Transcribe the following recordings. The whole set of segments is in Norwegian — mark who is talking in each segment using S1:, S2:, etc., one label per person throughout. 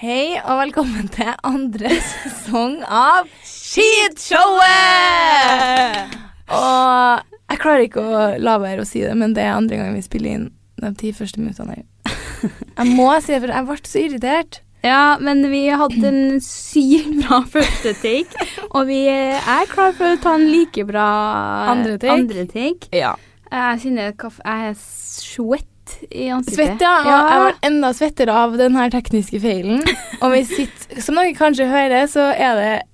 S1: Hei og velkommen til andre sesong av Skitshowet! Og jeg klarer ikke å la være å si det, men det er andre gangen vi spiller inn de ti første minuttene her. Jeg må si det, for jeg ble så irritert.
S2: Ja, men vi hadde en sykt bra første take, og vi er klar for å ta en like bra
S1: Andre take?
S2: take.
S1: Ja.
S2: Jeg kjenner kaff... Jeg er svett i ansiktet.
S1: Svett, ja. Og jeg ble enda svettere av den her tekniske feilen. Og vi sitter Som dere kanskje hører, så er det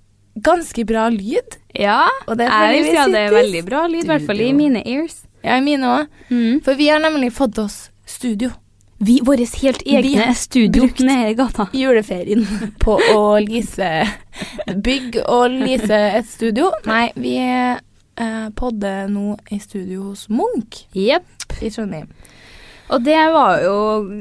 S1: ganske bra lyd.
S2: Ja.
S1: Og det er fordi
S2: Jeg vil
S1: vi
S2: si at det er
S1: sitter i
S2: veldig bra lyd, i hvert fall i
S1: studio.
S2: mine ears. Mm.
S1: Ja, i mine òg. For vi har nemlig fått oss studio.
S2: Vi, våre helt egne studio
S1: brukt-
S2: nede i gata.
S1: juleferien på å lease bygg og lease et studio. Nei, vi eh, podder nå i studio hos Munch
S2: Jepp.
S1: i Trondheim.
S2: Og det var jo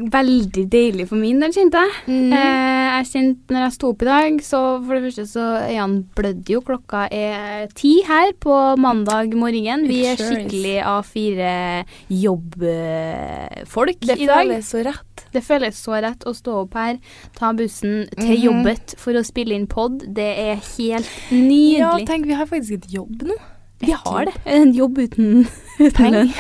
S2: veldig deilig for min del, kjente jeg.
S1: Mhm.
S2: Eh, jeg kjente når jeg sto opp i dag, så for det første så øynene blødde jo. Klokka er ti her på mandag morgen. Vi
S1: It
S2: er
S1: sure is.
S2: skikkelig A4-jobbfolk
S1: Det
S2: i dag.
S1: føles så rett.
S2: Det føles så rett å stå opp her, ta bussen til
S1: Mhm.
S2: jobbet for å spille inn pod. Det er helt
S1: Ja,
S2: nydelig.
S1: tenk, vi har faktisk et jobb nå.
S2: vi har det. En jobb uten, uten lønn.
S1: Penger.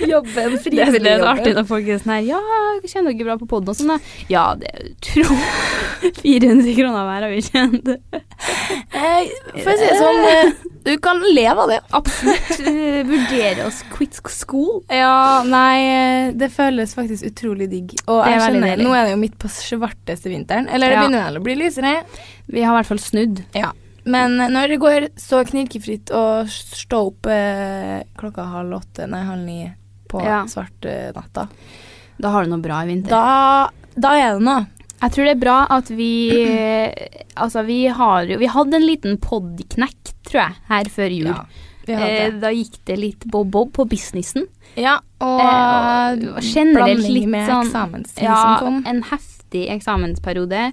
S1: Jobben,
S2: Det er litt
S1: frivilligjobben.
S2: artig når folk er sånn her Ja, kjenner dere bra på poden og sånn? da?» Ja, det er utrolig 400 kroner hver har vi tjent.
S1: Eh, for å si det sånn, eh, du kan leve av det.
S2: Absolutt. eh, Vurdere oss quit school.
S1: Ja, nei, eh, det føles faktisk utrolig digg. Og
S2: Det er
S1: jeg
S2: veldig
S1: skjønner,
S2: deilig.
S1: nå er det jo midt på svarteste vinteren. Eller det
S2: Ja.
S1: begynner vel å bli lysere.
S2: Vi har i hvert fall snudd.
S1: Men når det går så knirkefritt å stå opp eh, klokka halv åtte, nei, halv ni på
S2: Ja.
S1: svart eh, natta,
S2: Da har du noe bra i vinter.
S1: da, da er det noe.
S2: Jeg tror det er bra at vi eh, Altså, vi har jo Vi hadde en liten podknekk, tror jeg, her før jul.
S1: Ja, vi har
S2: Eh,
S1: det.
S2: da gikk det litt bob-bob på businessen.
S1: Ja, og,
S2: eh, og generelt
S1: blanding
S2: litt
S1: med
S2: sånn-
S1: eksamenstid
S2: Ja,
S1: som kom.
S2: en heftig eksamensperiode,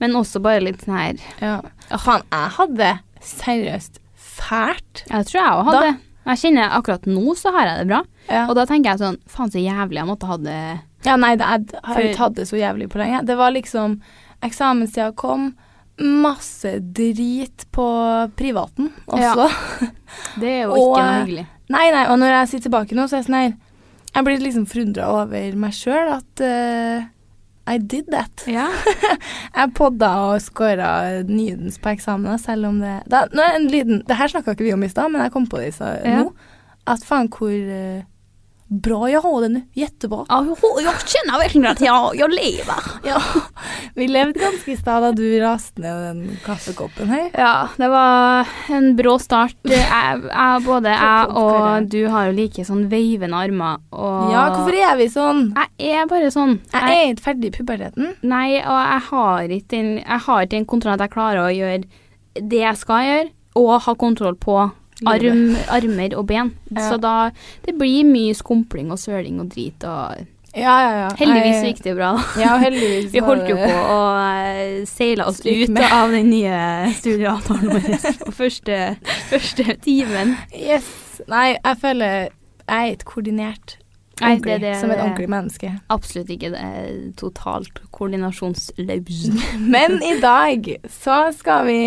S2: men også bare litt sånn her
S1: Ja. Å, Faen, jeg hadde seriøst fælt.
S2: Jeg tror jeg òg hadde det. Jeg kjenner akkurat nå så har jeg det bra.
S1: Ja.
S2: Og da tenker jeg sånn Faen, så jævlig jeg måtte ha det.
S1: Ja, nei, det, jeg har
S2: For-
S1: ikke hatt det så jævlig på lenge. Det var liksom Eksamenstida kom, masse drit på privaten også.
S2: Det er jo
S1: Og, eh,
S2: ikke noe hyggelig.
S1: Nei, nei, og når jeg sitter tilbake nå, så er jeg sånn her Jeg blir liksom forundra over meg sjøl at eh, I did that. Jeg podda og scora nydens på eksamener, selv om det da, nå er det en liten, Det her snakka ikke vi om i stad, men jeg kom på det i stad
S2: Ja.
S1: nå. At faen, hvor eh, bra jeg har det nå. Jettebra.
S2: Ja, jeg- jeg kjenner virkelig at jeg, jeg lever.
S1: Vi levde ganske i stad da du raste ned den kaffekoppen her.
S2: Ja, det var en brå start. Jeg, jeg, både jeg og du har jo like sånn veivende armer. Og
S1: Ja, hvorfor er vi sånn?
S2: Jeg er bare sånn.
S1: Jeg er ikke ferdig i puberteten.
S2: Nei, og jeg har ikke den, jeg har ikke den kontrollen at jeg klarer å gjøre det jeg skal gjøre, og ha kontroll på arm, armer og ben.
S1: Ja.
S2: Så da Det blir mye skumpling og søling og drit og
S1: Ja, ja, ja.
S2: Heldigvis
S1: Jeg-
S2: så gikk det bra. da.
S1: Ja, heldigvis.
S2: Vi
S1: var
S2: holdt jo
S1: det-
S2: på å eh, seile oss
S1: Stryk
S2: ut
S1: med.
S2: av den nye studieavtalen vår på første, første timen.
S1: Yes. Nei, jeg føler jeg er ikke koordinert
S2: Nei,
S1: ordentlig,
S2: det- det-
S1: som et ordentlig menneske.
S2: Absolutt ikke det er totalt koordinasjonsløs.
S1: Men i dag så skal vi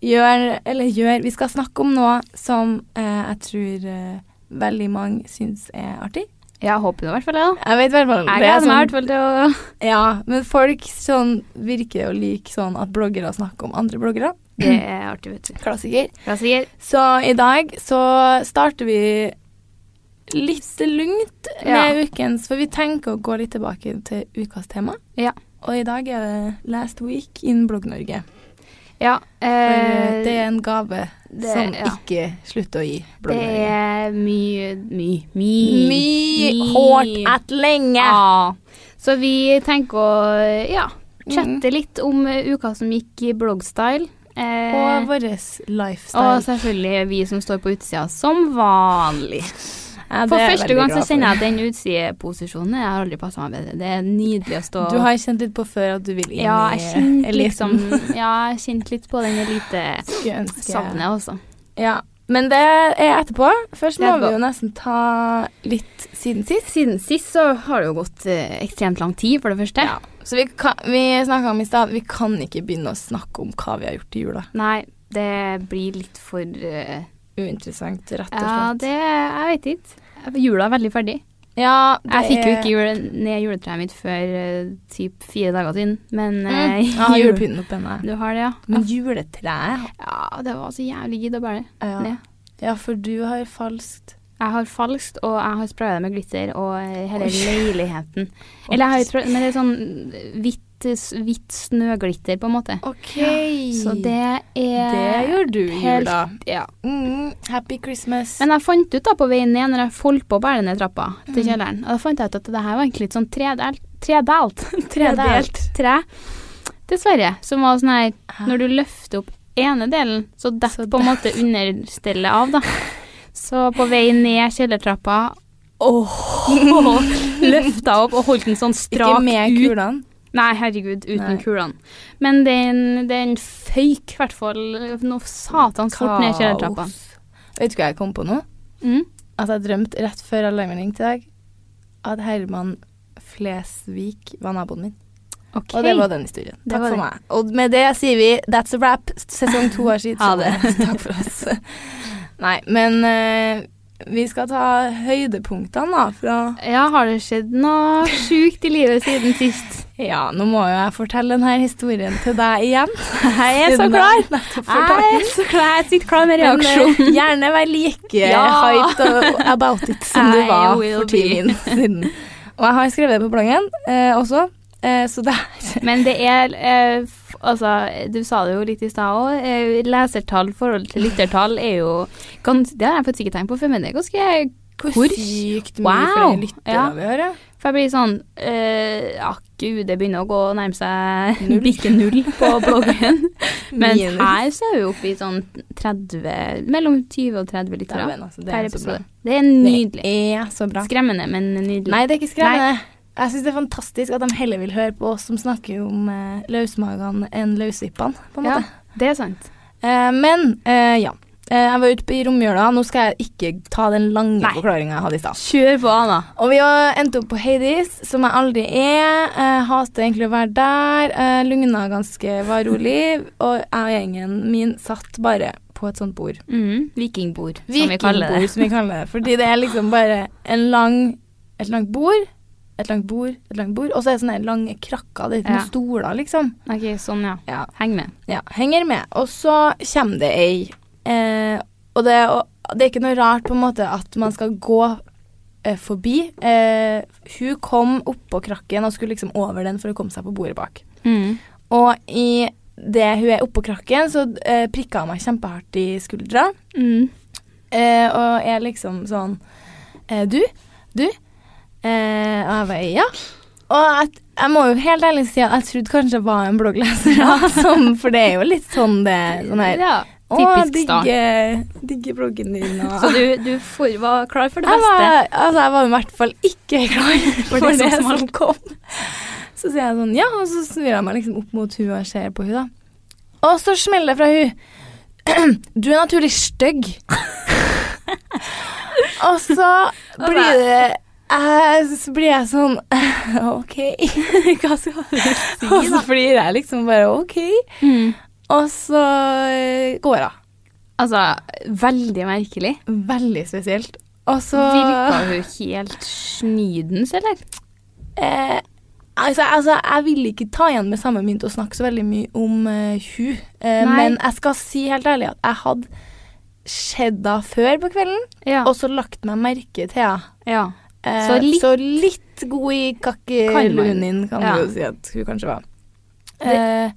S1: gjøre Eller gjøre Vi skal snakke om noe som eh, jeg tror eh, veldig mange syns er artig.
S2: Jeg håper det i hvert fall, jeg, da.
S1: Jeg vet i hvert fall
S2: Jeg
S1: det er
S2: gleder meg i hvert
S1: sånn,
S2: fall til å
S1: ja, Men folk sånn, virker jo like sånn at bloggere snakker om andre bloggere.
S2: Det er artig, vet du.
S1: Klassiker.
S2: Klassiker.
S1: Så i dag så starter vi litt lugnt med
S2: Ja.
S1: ukens, for vi tenker å gå litt tilbake til ukas tema.
S2: Ja.
S1: Og i dag er det Last Week in Blogg-Norge.
S2: Ja.
S1: For
S2: eh,
S1: det er en gave
S2: det-
S1: som
S2: ja.
S1: ikke slutter å gi
S2: det
S1: Blogg-Norge.
S2: er mye, mye,
S1: Mye
S2: mye mye-
S1: hårdt at lenge.
S2: Ja. Så vi tenker å ja,
S1: Mm.
S2: chatte litt om eh, uka som gikk i bloggstyle. Eh,
S1: Og vår
S2: og
S1: lifestyle.
S2: selvfølgelig vi som står på utsida, som vanlig.
S1: Ja, det
S2: For
S1: er jeg
S2: første
S1: veldig
S2: gang
S1: glad
S2: så
S1: for.
S2: kjenner jeg at den utsideposisjonen jeg har aldri passa meg bedre. Det er nydelig å stå
S1: Du har kjent litt på før at du vil inn
S2: ja, jeg
S1: i
S2: kjente
S1: eliten.
S2: liksom, ja, jeg kjente litt på den elitesavnet
S1: Skulle ønske-
S2: også.
S1: Ja, men det er etterpå. Først
S2: Det
S1: må
S2: er etterpå.
S1: vi jo nesten ta litt siden sist.
S2: Siden sist så har det jo gått eh, ekstremt lang tid, for det første.
S1: Ja. Så vi, kan, vi snakka om i stad, vi kan ikke begynne å snakke om hva vi har gjort i jula.
S2: Nei, det blir litt for eh,
S1: Uinteressant, rett og
S2: Ja,
S1: slett.
S2: det Jeg vet ikke. Jula er veldig ferdig.
S1: Ja, det
S2: Jeg fikk jo
S1: er-
S2: ikke jule, ned juletreet mitt før eh, typ fire dager siden, men
S1: Mm,
S2: eh,
S1: jeg har
S2: jul-
S1: julepynten oppe ennå.
S2: Du har det, ja? Altså,
S1: Men juletreet
S2: Ja, det var så jævlig gidd å bære.
S1: ja.
S2: Ned.
S1: ja, for du har falskt
S2: Jeg har falskt, og jeg har spraya det med glitter og eh, hele
S1: Oi.
S2: leiligheten. Eller jeg har ikke sprayet, men det er sånn hvitt, hvitt snøglitter, på en måte.
S1: OK.
S2: Så det er
S1: Det gjør du i
S2: helt-
S1: jula.
S2: Ja.
S1: Mm, happy Christmas.
S2: Men jeg fant ut da på veien ned, når jeg holdt på å bære ned trappa
S1: Mm.
S2: til kjelleren, og da fant jeg ut at det her var egentlig et sånn tredelt, tredelt, tredelt tre, dessverre, som var sånn her, når du løfter opp ene delen, så detter på en måte understellet av da. Så på vei ned kjellertrappa, åh, løftet opp og holdt den sånn
S1: ikke
S2: strak
S1: med
S2: ut.
S1: kulene.
S2: Nei, herregud, uten
S1: Nei.
S2: kulene. Men den, den føyk i hvert fall noe satans fort ned kjellertrappa.
S1: Vet du hva jeg kom på nå?
S2: Mm.
S1: at jeg drømte rett før alarmen ringte i dag, at Herman Flesvig var naboen min.
S2: Ok.
S1: Og det var den historien.
S2: Det
S1: Takk
S2: var
S1: for
S2: det.
S1: meg. Og med det sier vi that's a wrap. Sesong to har sitt.
S2: Ha det.
S1: Takk for oss. Nei, men eh, vi skal ta høydepunktene, da. Fra
S2: Ja, har det skjedd noe sjukt i livet siden sist?
S1: Ja, nå må jo jeg fortelle denne historien til deg igjen. Jeg
S2: er så klar.
S1: Jeg
S2: er så klar, jeg sitter klar med
S1: Men, eh, gjerne vær like
S2: Ja.
S1: hyped og about it som du
S2: I
S1: var
S2: will
S1: for ti
S2: be.
S1: minutter siden. Og jeg har skrevet det på bloggen eh, også, eh, så det er
S2: Men det er eh, f- Altså, du sa det jo litt i stad òg. Eh, lesertall i forhold til lyttertall er jo gans Det har jeg fått sikkert tegn på før, men det er ganske Hvor
S1: sykt mye
S2: Wow.
S1: flere lyttere
S2: Ja.
S1: vi har, ja.
S2: For jeg blir sånn eh, Ja, gud, det begynner å gå og nærme seg
S1: Null.
S2: bikke null på bloggen. men
S1: Minus.
S2: her så er vi oppe i sånn 30 Mellom 20 og 30
S1: Ja,
S2: lyttere
S1: men altså, det,
S2: per
S1: er så bra.
S2: episode. Det er nydelig.
S1: Det er så bra.
S2: Skremmende, men nydelig.
S1: Nei, det er ikke skremmende. Jeg syns det er fantastisk at de heller vil høre på oss som snakker om eh, løsmagene enn løsvippene, på en måte.
S2: Ja, det er sant.
S1: Eh, men eh, ja. Eh, jeg var ute på- i romjula. Nå skal jeg ikke ta den lange
S2: Nei.
S1: forklaringa jeg hadde i stad.
S2: Kjør på, Anna.
S1: Og vi har endt opp på Hades, som jeg aldri er. Jeg hater egentlig å være der. Jeg lugna ganske, var rolig. Og jeg og gjengen min satt bare på et sånt bord.
S2: Mm, vikingbord, som vi kaller det.
S1: som vi kaller det. Fordi det er liksom bare en lang, et langt bord, et langt bord, et langt bord. Og så er det sånne lange krakker. Det er ikke
S2: Ja.
S1: noen stoler, liksom.
S2: Ok, sånn ja.
S1: Ja.
S2: Heng med.
S1: ja. Henger med. Og så kommer det ei. Eh, og, det, og det er ikke noe rart på en måte at man skal gå eh, forbi. Eh, hun kom oppå krakken og skulle liksom over den for å komme seg på bordet bak. Og i det hun er oppå krakken, så eh, prikka hun meg kjempehardt i skuldra.
S2: Mm.
S1: Eh, og er liksom sånn eh, Du? Du? Eh, og jeg bare ja. Og jeg, jeg må jo helt ærlig si at jeg trodde kanskje jeg var en bloggleser. da, som, for det er jo litt sånn det sånn her,
S2: Ja.
S1: Å,
S2: Typisk start.
S1: digge, digge bloggen din og
S3: Så du, du for, var klar for det
S1: jeg
S3: beste?
S1: var, altså, jeg var i hvert fall ikke klar
S3: det
S1: for, det, sånn-
S3: som
S1: som,
S3: smalt.
S1: kom. Så sier jeg sånn, ja, og så snur jeg meg liksom opp mot hun og ser på hun da. Og så smeller det fra hun. Du er naturlig stygg. og så blir det jeg, så blir jeg sånn OK. Hva skal du si, da? Og så flirer jeg liksom bare OK.
S2: Mm.
S1: Og så eh, går hun.
S2: Altså, veldig merkelig.
S1: Veldig spesielt. Og så
S2: Virka hun helt snydens, eller?
S1: Eh, altså, altså, jeg vil ikke ta igjen med samme mynt og snakke så veldig mye om eh, hun. Eh,
S2: Nei.
S1: men jeg skal si helt ærlig at jeg hadde sett henne før på kvelden,
S2: Ja.
S1: og så lagt meg merke til henne.
S2: ja.
S1: Eh,
S2: Så litt-
S1: litt god i
S2: Kan man.
S1: kakkelunin kan
S2: Ja.
S1: du jo si at hun kanskje var. Eh,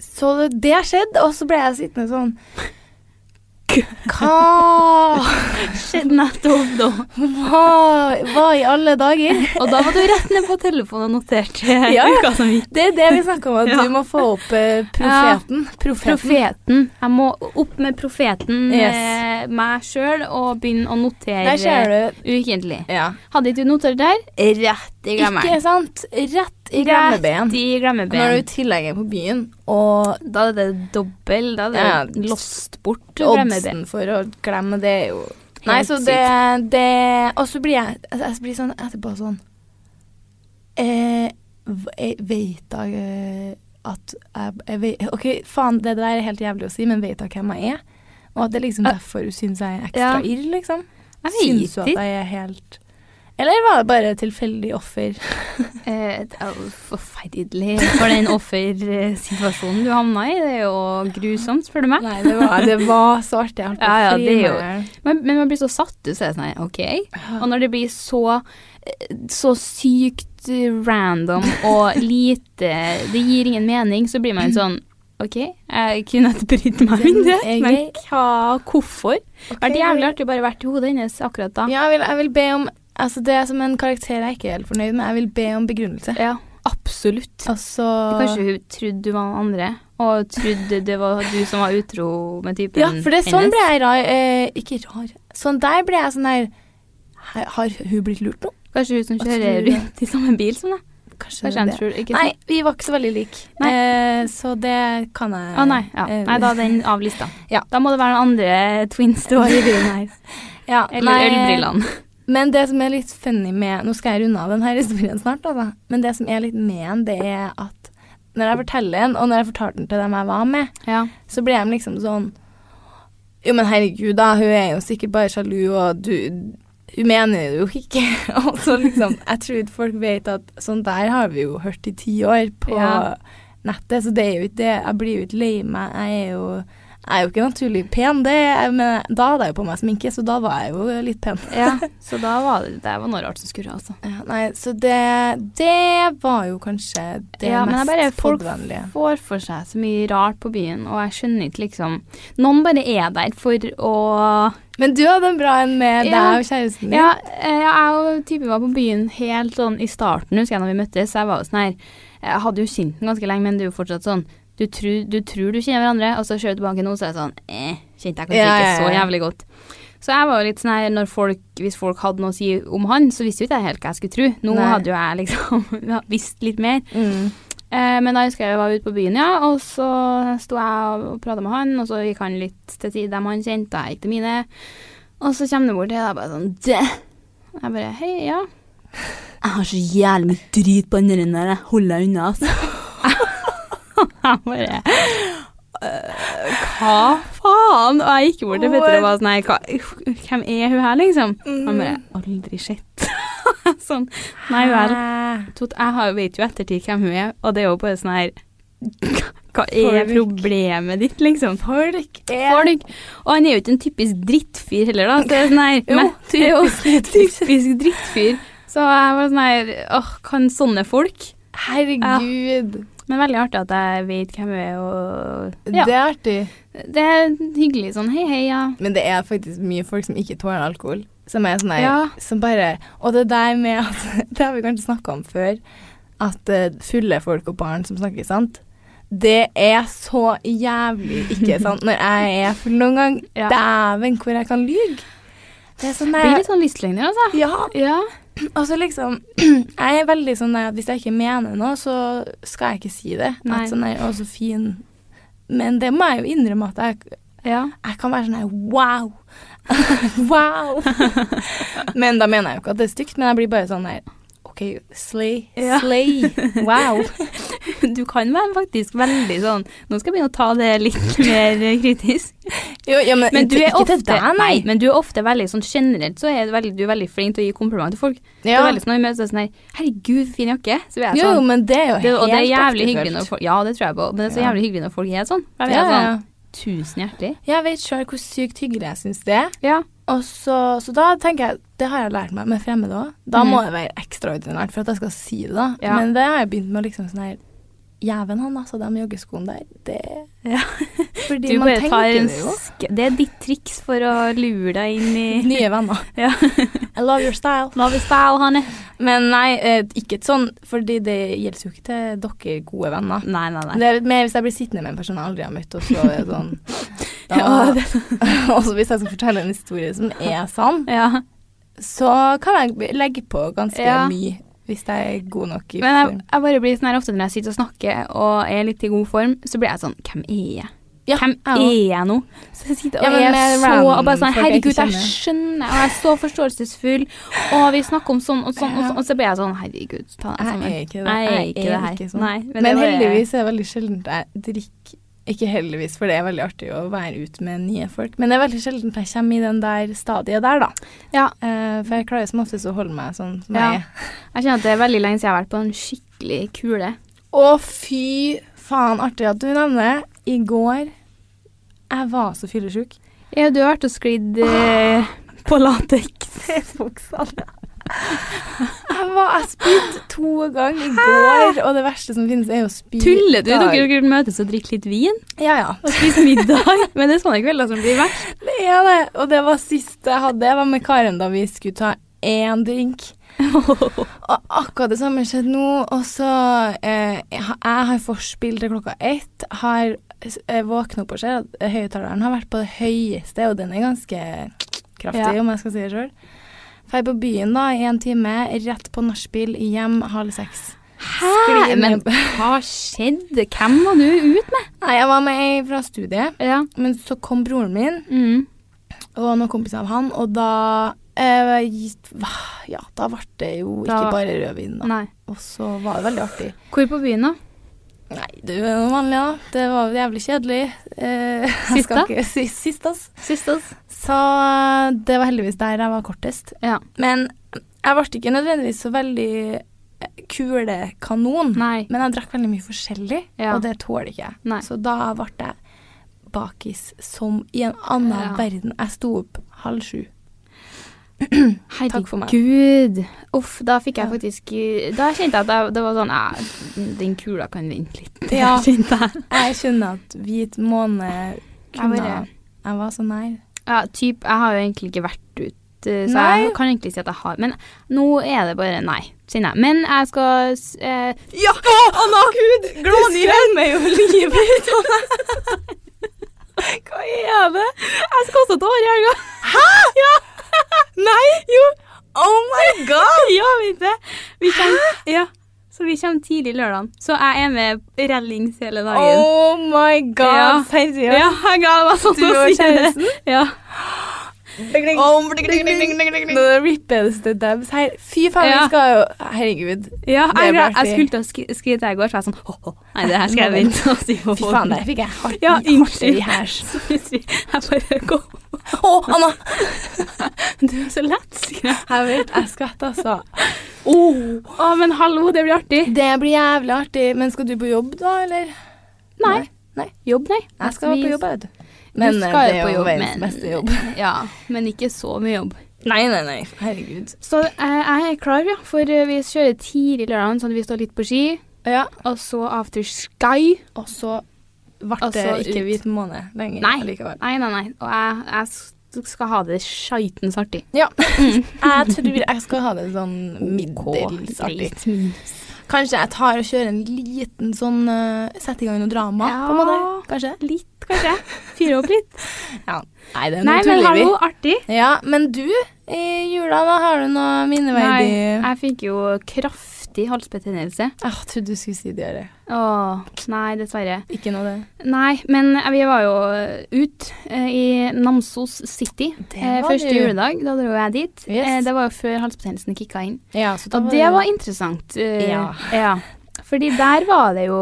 S1: så det, det skjedde, og så ble jeg sittende sånn Hva
S2: Skjedde nettopp da.
S1: Hva, hva i alle dager?
S2: Og da var du rett ned på telefonen og noterte
S1: Ja, ja.
S2: uka som gikk.
S1: Det er det vi snakker om, at
S2: Ja.
S1: du må få opp eh, profeten. Profeten.
S2: Profeten. Jeg må opp med profeten,
S1: Yes.
S2: eh, meg sjøl, og begynne å notere
S1: Der ser du.
S2: ukentlig.
S1: Ja.
S2: Hadde ikke du notert der? Rett i
S1: Ikke
S2: glemmeren.
S1: sant? Rett i glemmeben.
S2: Rett i glemmeben.
S1: Når du i tillegg er på byen, og
S2: Da er det dobbel, da
S1: Ja.
S2: er det lost bort å glemme det.
S1: oddsen for å glemme det er jo Nei, så
S2: sykt.
S1: det, det Og så blir jeg, altså, jeg blir sånn etterpå sånn eh, v- jeg Vet jeg eh, at jeg, jeg vet, OK, faen, det der er helt jævlig å si, men vet jeg hvem jeg er? Og at det er liksom derfor hun syns jeg er ekstra
S2: Ja.
S1: irr, liksom.
S2: Jeg
S1: Syns
S2: vet
S1: hun at
S2: ikke.
S1: jeg er helt Eller var det bare et tilfeldig offer?
S2: Eh, det er jo forferdelig for den offersituasjonen du havna i. Det er jo grusomt, spør du meg.
S1: Nei, det var, det var så artig. Jeg holdt på å
S2: Ja, ja, det er
S1: flire meg i
S2: jo-
S1: hjel.
S2: Men, men man blir så satt ut, så er det sånn her, OK. Og når det blir så, så sykt random og lite Det gir ingen mening, så blir man sånn OK, jeg kunne ikke brydd meg om det,
S1: Den er
S2: men
S1: grei.
S2: hva, hvorfor? Det hadde vært
S1: Ok.
S2: jævlig artig å bare vært i hodet hennes akkurat da.
S1: Ja, jeg vil, jeg vil be om Altså, det er som en karakter jeg ikke er helt fornøyd med. Jeg vil be om begrunnelse. Altså-
S2: Ja, absolutt.
S1: Og så
S2: Kanskje hun trodde du var den andre, og trodde det var du som var utro med typen
S1: Ja, for det er sånn
S2: hennes.
S1: ble jeg rar eh, Ikke rar. Sånn der ble jeg sånn her Har har hun blitt lurt nå?
S2: Kanskje hun som
S1: Hva
S2: kjører
S1: tror du?
S2: rundt i samme bil som deg.
S1: Kanskje,
S2: Kanskje han
S1: det.
S2: tror ikke sånn.
S1: Nei, vi var ikke så veldig like.
S2: Nei.
S1: Eh, så det kan jeg
S2: Å nei, ja.
S1: eh,
S2: nei, da er den av lista.
S1: Ja.
S2: Da må det være noen andre twins du har i byen her.
S1: ja,
S2: Eller
S1: nei,
S2: ølbrillene.
S1: Men det som er litt funny med Nå skal jeg runde av denne historien snart, altså. Men det som er litt med den, det er at når jeg forteller den, og når jeg fortalte den til dem jeg var med,
S2: Ja.
S1: så ble de liksom sånn Jo, men herregud, da. Hun er jo sikkert bare sjalu, og du Hun mener det jo ikke. og så liksom Jeg tror ikke folk vet at sånn der har vi jo hørt i ti år på
S2: Ja.
S1: nettet, så det er jo ikke det. Jeg blir jo ikke lei meg. Jeg er jo jeg er jo ikke naturlig pen, det, er- men da hadde jeg jo på meg sminke, så da var jeg jo litt pen.
S2: ja. Så da var det, det var noe rart som skurra, altså.
S1: Ja, nei, så det, det var jo kanskje det
S2: Ja, men det er
S1: mest
S2: bare folk-
S1: poddvennlige.
S2: Får for seg så mye rart på byen, og jeg skjønner ikke liksom Noen bare er der for å
S1: Men du hadde en bra en med
S2: Ja.
S1: deg og kjæresten din.
S2: Ja, eh, jeg og typen var på byen helt sånn i starten, husker jeg, når vi møttes. Jeg var jo sånn her Jeg hadde jo kjent den ganske lenge, men det er jo fortsatt sånn du tror, du tror du kjenner hverandre, og så ser du tilbake nå, så er det sånn eh, Kjente jeg kanskje
S1: Ja,
S2: ikke
S1: ja,
S2: så
S1: ja.
S2: jævlig godt. Så jeg var jo litt sånn her når folk, Hvis folk hadde noe å si om han, så visste jo ikke jeg helt hva jeg skulle tro. Nå
S1: Nei.
S2: hadde jo jeg liksom visst litt mer.
S1: Mm.
S2: Eh, men da husker jeg jeg var ute på byen, ja, og så sto jeg og prata med han, og så gikk han litt til tid dem han kjente, og jeg gikk til mine. Og så kommer det bort til deg bare sånn Dæ! Jeg bare Hei, ja. Jeg har så jævlig mye drit på andre enn der, hold deg unna, altså. jeg bare «Øh, Hva faen? Og jeg gikk bort til Petter og var sånn Nei, hva, hvem er hun her, liksom? Han bare Aldri sett. sånn. Nei vel. Tot, jeg har, vet jo ettertid hvem hun er, og det er jo bare sånn her Hva er
S1: Folk.
S2: problemet ditt, liksom?
S1: Folk er
S2: Folk. Og han er jo ikke en typisk drittfyr heller, da. Så det er sånn her
S1: Jo,
S2: men-
S1: typisk
S2: det er jo typisk drittfyr. Så jeg var sånn her Åh, kan sånne folk?
S1: Herregud.
S2: Men veldig artig at jeg vet hvem hun er, og ja.
S1: Det er artig.
S2: Det er hyggelig sånn hei, hei, ja.
S1: Men det er faktisk mye folk som ikke tåler alkohol. Som er sånn her
S2: Ja.
S1: Som bare Og det der med at Det har vi kanskje snakka om før. At eh, fulle folk og barn som snakker sant, Det er så jævlig ikke sant når jeg er full noen gang.
S2: Ja.
S1: Dæven, hvor jeg kan lyge. Det er sånn
S2: Blir
S1: der,
S2: litt sånn lystløgner, altså.
S1: ja,
S2: Ja.
S1: og så liksom Jeg er veldig sånn der at hvis jeg ikke mener noe, så skal jeg ikke si det.
S2: Nei.
S1: At sånn der, å, så fin. Men det må jeg jo innrømme at jeg
S2: ja.
S1: jeg kan være sånn her wow. wow. men da mener jeg jo ikke at det er stygt, men jeg blir bare sånn her OK, slay,
S2: Ja.
S1: slay, wow.
S2: Du kan være faktisk veldig sånn Nå skal jeg begynne å ta det litt mer eh, kritisk.
S1: Jo, ja, men,
S2: Men du er
S1: ikke
S2: ofte
S1: til deg, nei.
S2: Nei, men du er ofte veldig sånn generelt så er du veldig, du er veldig flink til å gi komplimenter til folk. Du
S1: Ja.
S2: er veldig sånn når vi møtes sånn her Herregud, fin jakke. Så blir jeg
S1: Jo,
S2: sånn.
S1: men det er jo
S2: det,
S1: helt
S2: og det er jævlig
S1: ektefølt.
S2: hyggelig når folk Ja, det tror jeg på. Men det er så
S1: Ja.
S2: jævlig hyggelig når folk er sånn. For jeg
S1: ja,
S2: er
S1: ja.
S2: sånn Tusen hjertelig.
S1: Jeg vet sjøl hvor sykt hyggelig jeg syns det er.
S2: Ja.
S1: Og så, så da tenker jeg Det har jeg lært meg med fremmede òg. Da må
S2: Mhm.
S1: det være ekstraordinært for at jeg skal si det, da.
S2: Ja.
S1: Men det har jeg begynt med å liksom sånn her Jæven, han altså, de joggeskoene der, det
S2: Ja.
S1: Fordi
S2: Du
S1: man
S2: bare tar
S1: tenker
S2: en
S1: det jo.
S2: sk- Det er ditt triks for å lure deg inn i
S1: Nye venner.
S2: Ja.
S1: I love your style.
S2: Love style, Hanne.
S1: Men nei, eh, ikke et sånn, fordi det gjelder jo ikke til dere gode venner.
S2: Nei, nei, nei.
S1: Det er mer hvis jeg blir sittende med en person jeg aldri har møtt, og så er det sånn da,
S2: Ja,
S1: Og så hvis jeg skal fortelle en historie som er sann,
S2: Ja.
S1: så kan jeg be- legge på ganske
S2: Ja.
S1: mye hvis jeg er god nok i
S2: Men jeg,
S1: form.
S2: jeg bare blir sånn her ofte når jeg sitter og snakker og er litt i god form, så blir jeg sånn Hvem er jeg?
S1: Ja,
S2: Hvem
S1: jeg
S2: er
S1: òg.
S2: jeg nå? Så jeg sitter
S1: Ja,
S2: og
S1: men
S2: er
S1: med
S2: så og bare
S1: random
S2: sånn
S1: folk jeg ikke
S2: Herregud, jeg
S1: kjenner.
S2: skjønner, og jeg er så forståelsesfull, og vi snakker om sånn og sånn, og,
S1: Ja.
S2: sånn, og så blir jeg sånn Herregud, ta deg
S1: Jeg
S2: sammen.
S1: er ikke det.
S2: Jeg er ikke det her.
S1: sånn.
S2: Nei, men
S1: men
S2: det var-
S1: heldigvis er det veldig sjelden jeg drikker Ikke heldigvis, for det er veldig artig å være ute med nye folk, men det er veldig sjelden jeg kommer i den der stadiet der, da.
S2: Ja.
S1: Eh, for jeg klarer som oftest å holde meg sånn som
S2: Ja.
S1: jeg er.
S2: Jeg kjenner at det er veldig lenge siden jeg har vært på en skikkelig kule.
S1: Å, fy faen, artig at du nevner det. I går Jeg var så fyllesyk.
S2: Ja, du har vært og sklidd eh, på latex.
S1: Jeg var Jeg spydde to ganger i går, og det verste som finnes, er å spy
S2: Tuller du?
S1: i dag.
S2: Dere skulle møtes og drikke litt vin
S1: Ja, ja.
S2: og spise middag. Men det er sånne kvelder som blir verst.
S1: Det er det. Og det var siste jeg hadde, var med Karen da vi skulle ta én drink. Og akkurat det samme skjedde nå. Og så eh, Jeg har- jeg har forspill til klokka ett. Har eh, våkna opp og ser at høyttaleren har vært på det høyeste, og den er ganske kraftig,
S2: Ja.
S1: om jeg skal si det sjøl. Drar på byen da i en time, rett på nachspiel, hjem halv seks. Sklir
S2: Hæ?
S1: ned
S2: Men
S1: på-
S2: hva skjedde? Hvem var du ut med?
S1: Nei, jeg var med ei fra studiet,
S2: Ja.
S1: men så kom broren min.
S2: Mm.
S1: og noen kompiser av han, og da eh, gitt- hva- Ja, da ble det jo
S2: Da-
S1: ikke bare rødvin, da.
S2: Nei.
S1: Og så var det veldig artig.
S2: Hvor på byen, da?
S1: Nei, det er jo vanlig, da. Det var jo jævlig kjedelig. Eh, jeg skal
S2: Sista?
S1: ikke si- Sist, ass.
S2: Sist oss.
S1: Så eh, det var heldigvis der jeg var kortest.
S2: Ja.
S1: Men jeg ble ikke nødvendigvis så veldig eh, kulekanon.
S2: Nei.
S1: Men jeg drakk veldig mye forskjellig,
S2: Ja.
S1: og det tåler ikke jeg.
S2: Nei.
S1: Så da ble jeg bakis som i en annen
S2: Ja.
S1: verden. Jeg sto opp halv sju. Takk for meg.
S2: Herregud. Uff, da fikk jeg
S1: Ja.
S2: faktisk Da kjente jeg at jeg, det var sånn eh, Den kula kan vente litt.
S1: Ja.
S2: kjente jeg.
S1: Jeg skjønner at hvit måne
S2: Jeg
S1: kunne
S2: bare-
S1: Jeg var så nær.
S2: Ja, typ, jeg har jo egentlig ikke vært ute, så
S1: Nei.
S2: jeg kan egentlig si at jeg har Men nå er det bare nei, kjenner jeg. Men jeg skal s- eh,
S1: Ja! Anna! Gud, du skremmer jo livet ut av meg.
S2: Hva er det? Jeg skal også ta hår i helga.
S1: Hæ?!
S2: Ja.
S1: Nei! Jo! Oh my god!
S2: ja, vet det. Vi kommer, ja. Så vi kommer tidlig lørdag. Så jeg er med rallings hele dagen.
S1: Oh my
S2: Ja.
S1: god, seriøst?
S2: Ja, jeg gleder meg sånn
S1: Du
S2: til å
S1: og
S2: si det. Ja.
S1: Om- Nå rippes det dabs her. Fy faen,
S2: Ja.
S1: vi skal jo Herregud.
S2: Ja,
S1: Det blir
S2: jeg, jeg,
S1: artig.
S2: skulle til å skri- skrive det i går, så jeg er sånn «Hå, hå, Nei, det her skal jeg vente og si på
S1: Fy faen, der fikk jeg hardt
S2: Ja,
S1: hardt i
S2: unnskyld.
S1: hæsj.
S2: Så hvis vi Jeg bare går
S1: Å, Anna!
S2: Du er så lettskremt.
S1: Jeg vet, jeg skvetter, altså.
S2: Å, men hallo, det blir artig.
S1: Det blir jævlig artig. Men skal du på jobb, da, eller?
S2: Nei.
S1: Nei.
S2: Jobb, nei.
S1: Jeg skal
S2: Vi-
S1: på jobb, jeg, vet du.
S2: Du
S1: Men eh,
S2: skal
S1: det
S2: jo
S1: er
S2: på
S1: jo
S2: jobb,
S1: verdens
S2: men-
S1: beste jobb.
S2: Ja, men ikke så mye jobb.
S1: Nei, nei, nei. Herregud.
S2: Så eh, jeg er klar, ja. For eh, vi kjører tidlig lørdag, sånn at vi står litt på ski.
S1: Ja.
S2: Og så After Sky.
S1: Og så altså, ble
S2: Og
S1: det
S2: så
S1: ikke
S2: ut.
S1: hvit måned lenger
S2: Nei.
S1: likevel.
S2: Nei, nei, nei. Og jeg, jeg s- du skal ha det skeitens artig.
S1: Jeg tror jeg skal ha det sånn middels artig. Kanskje jeg tar og kjører en liten sånn uh, Sette i gang noe drama, på en måte. Kanskje.
S2: Litt, kanskje. Fyre opp litt.
S1: Nei, det
S2: Nei, men hallo, artig.
S1: Ja, men du, i jula, da har du noe minneverdig
S2: Nei, jeg fikk jo kraftig halsbetennelse.
S1: Ah, Jeg trodde du skulle si det, Are.
S2: Åh, nei, dessverre.
S1: Ikke noe av det.
S2: Nei, men eh, vi var jo ut eh, i Namsos City
S1: Det
S2: eh,
S1: var
S2: første
S1: du.
S2: juledag. Da dro jeg dit.
S1: Yes.
S2: Eh, det var jo før halsbetennelsen kicka inn.
S1: Ja, så
S2: Og det var interessant. eh,
S1: Ja.
S2: ja. Fordi der var det jo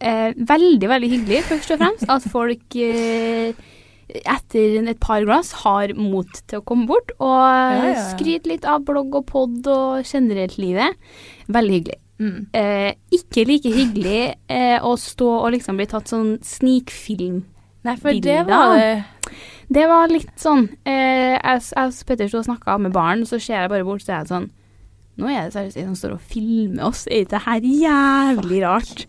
S2: eh, veldig, veldig hyggelig, først og fremst, at folk eh, etter et par glass har mot til å komme bort og
S1: ja, ja.
S2: skryte litt av blogg og pod og generelt livet. Veldig hyggelig.
S1: Mm.
S2: Eh, ikke like hyggelig eh, å stå og liksom bli tatt sånn snikfilm.
S1: Nei, for det
S2: bilder.
S1: var det.
S2: Det var litt sånn eh, Jeg jeg og Petter sto og snakka med barn, så ser jeg bare bort, så er jeg sånn Nå er det seriøst en som står og filmer oss. Er ikke det her jævlig rart?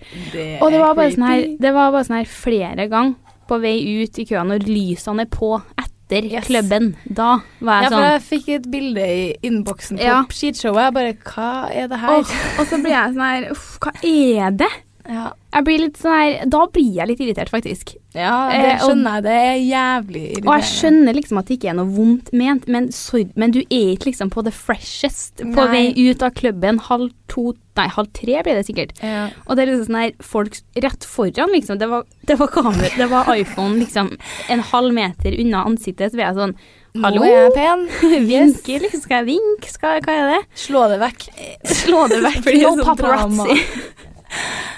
S2: Og det var bare sånn her, det var bare sånn her flere ganger på vei ut i køa når lysene er på etter
S1: Yes.
S2: klubben. Da var
S1: Ja,
S2: jeg
S1: for
S2: sånn
S1: jeg fikk et bilde i innboksen på
S2: Ja.
S1: skitshowet. Jeg bare Hva er det her?
S2: «Åh», Og så blir jeg sånn her Uff, hva er det?
S1: Ja.
S2: Jeg blir litt sånn her Da blir jeg litt irritert, faktisk.
S1: ja, det
S2: Eh, og-
S1: skjønner jeg. Det er jævlig irriterende.
S2: Og jeg skjønner liksom at det ikke er noe vondt ment, men, sorry, men du er ikke liksom på the freshest på
S1: Nei.
S2: vei ut av klubben halv to Nei, halv tre blir det sikkert.
S1: Ja.
S2: Og det er liksom sånn her folk rett foran, liksom. Det var, det var kamera, det var iPhone liksom en halv meter unna ansiktet, så blir jeg sånn Hallo?
S1: Nå er jeg pen. Yes.
S2: Vinke, liksom. Skal jeg vinke? Skal, hva er det?
S1: Slå det vekk.
S2: Slå det vekk.
S1: Blir
S2: no
S1: sånn drama.
S2: paparazzi.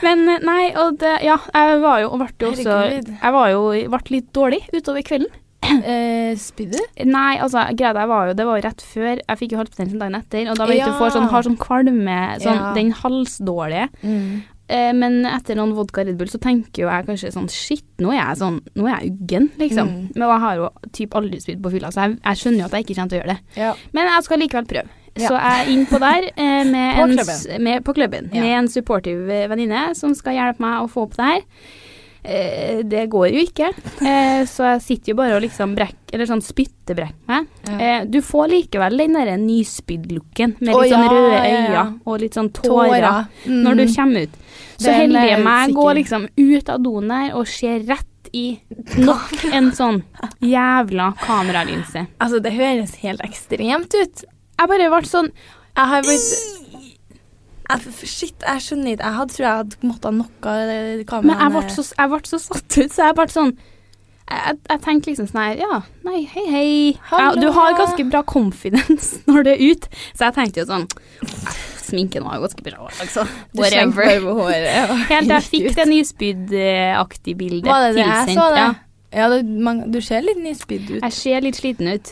S2: Men eh, nei, og det Ja, jeg var jo og ble jo også
S1: Herregud.
S2: Jeg var jo ble litt dårlig utover kvelden.
S1: Eh, Spyr du?
S2: Nei, altså, greia der var jo Det var jo rett før. Jeg fikk jo halsbetennelsen dagen etter. Og da vet
S1: Ja.
S2: du, får sånn, har sånn kvalme, sånn,
S1: Ja.
S2: den halsdårlige. Eh, men etter noen vodka Red Bull så tenker jo jeg kanskje sånn Shit, nå er jeg sånn Nå er jeg uggen, liksom.
S1: Mm.
S2: Men jeg har jo typ aldri spydd på fylla, så jeg, jeg skjønner jo at jeg ikke kommer til å gjøre det.
S1: Ja.
S2: Men jeg skal likevel prøve.
S1: Ja.
S2: Så jeg er innpå der eh, med,
S1: På
S2: en,
S1: klubben.
S2: s- med, på klubben,
S1: Ja.
S2: med en supportive eh, venninne som skal hjelpe meg å få opp det her. Eh, det går jo ikke, eh, så jeg sitter jo bare og liksom brekk, eller sånn spyttebrekker meg. Eh, du får likevel den derre nyspydd-looken med
S1: Å,
S2: litt sånn
S1: ja,
S2: røde
S1: ja, ja.
S2: øyne og litt sånn tårer,
S1: Mm.
S2: når du kommer ut. Så
S1: Den
S2: heldig
S1: er eh,
S2: er meg
S1: sikker.
S2: går liksom ut av doen der og ser rett i nok en sånn jævla kameralinse.
S1: Altså, det høres helt ekstremt ut.
S2: Jeg bare ble sånn
S1: Jeg har blitt jeg, Eh, Shit, jeg skjønner ikke. Jeg hadde, tror jeg hadde måttet noe eh, kameraene
S2: Men jeg ble så, jeg ble så satt ut, så jeg ble sånn jeg, jeg- jeg tenkte liksom sånn her Ja, nei, hei, hei.
S1: Hallo,
S2: Jeg, du har
S1: ja.
S2: ganske bra confidence når du er ute, så jeg tenkte jo sånn Sminken var jo ganske bra, altså.
S1: Du kjente bare på håret, ja.
S2: Helt til jeg
S1: Gikk
S2: fikk
S1: ut.
S2: det nyspyddaktige bildet
S1: Var det det jeg så, det?
S2: Ja.
S1: Ja, du, man, du ser litt nyspydd ut.
S2: Jeg ser litt sliten ut.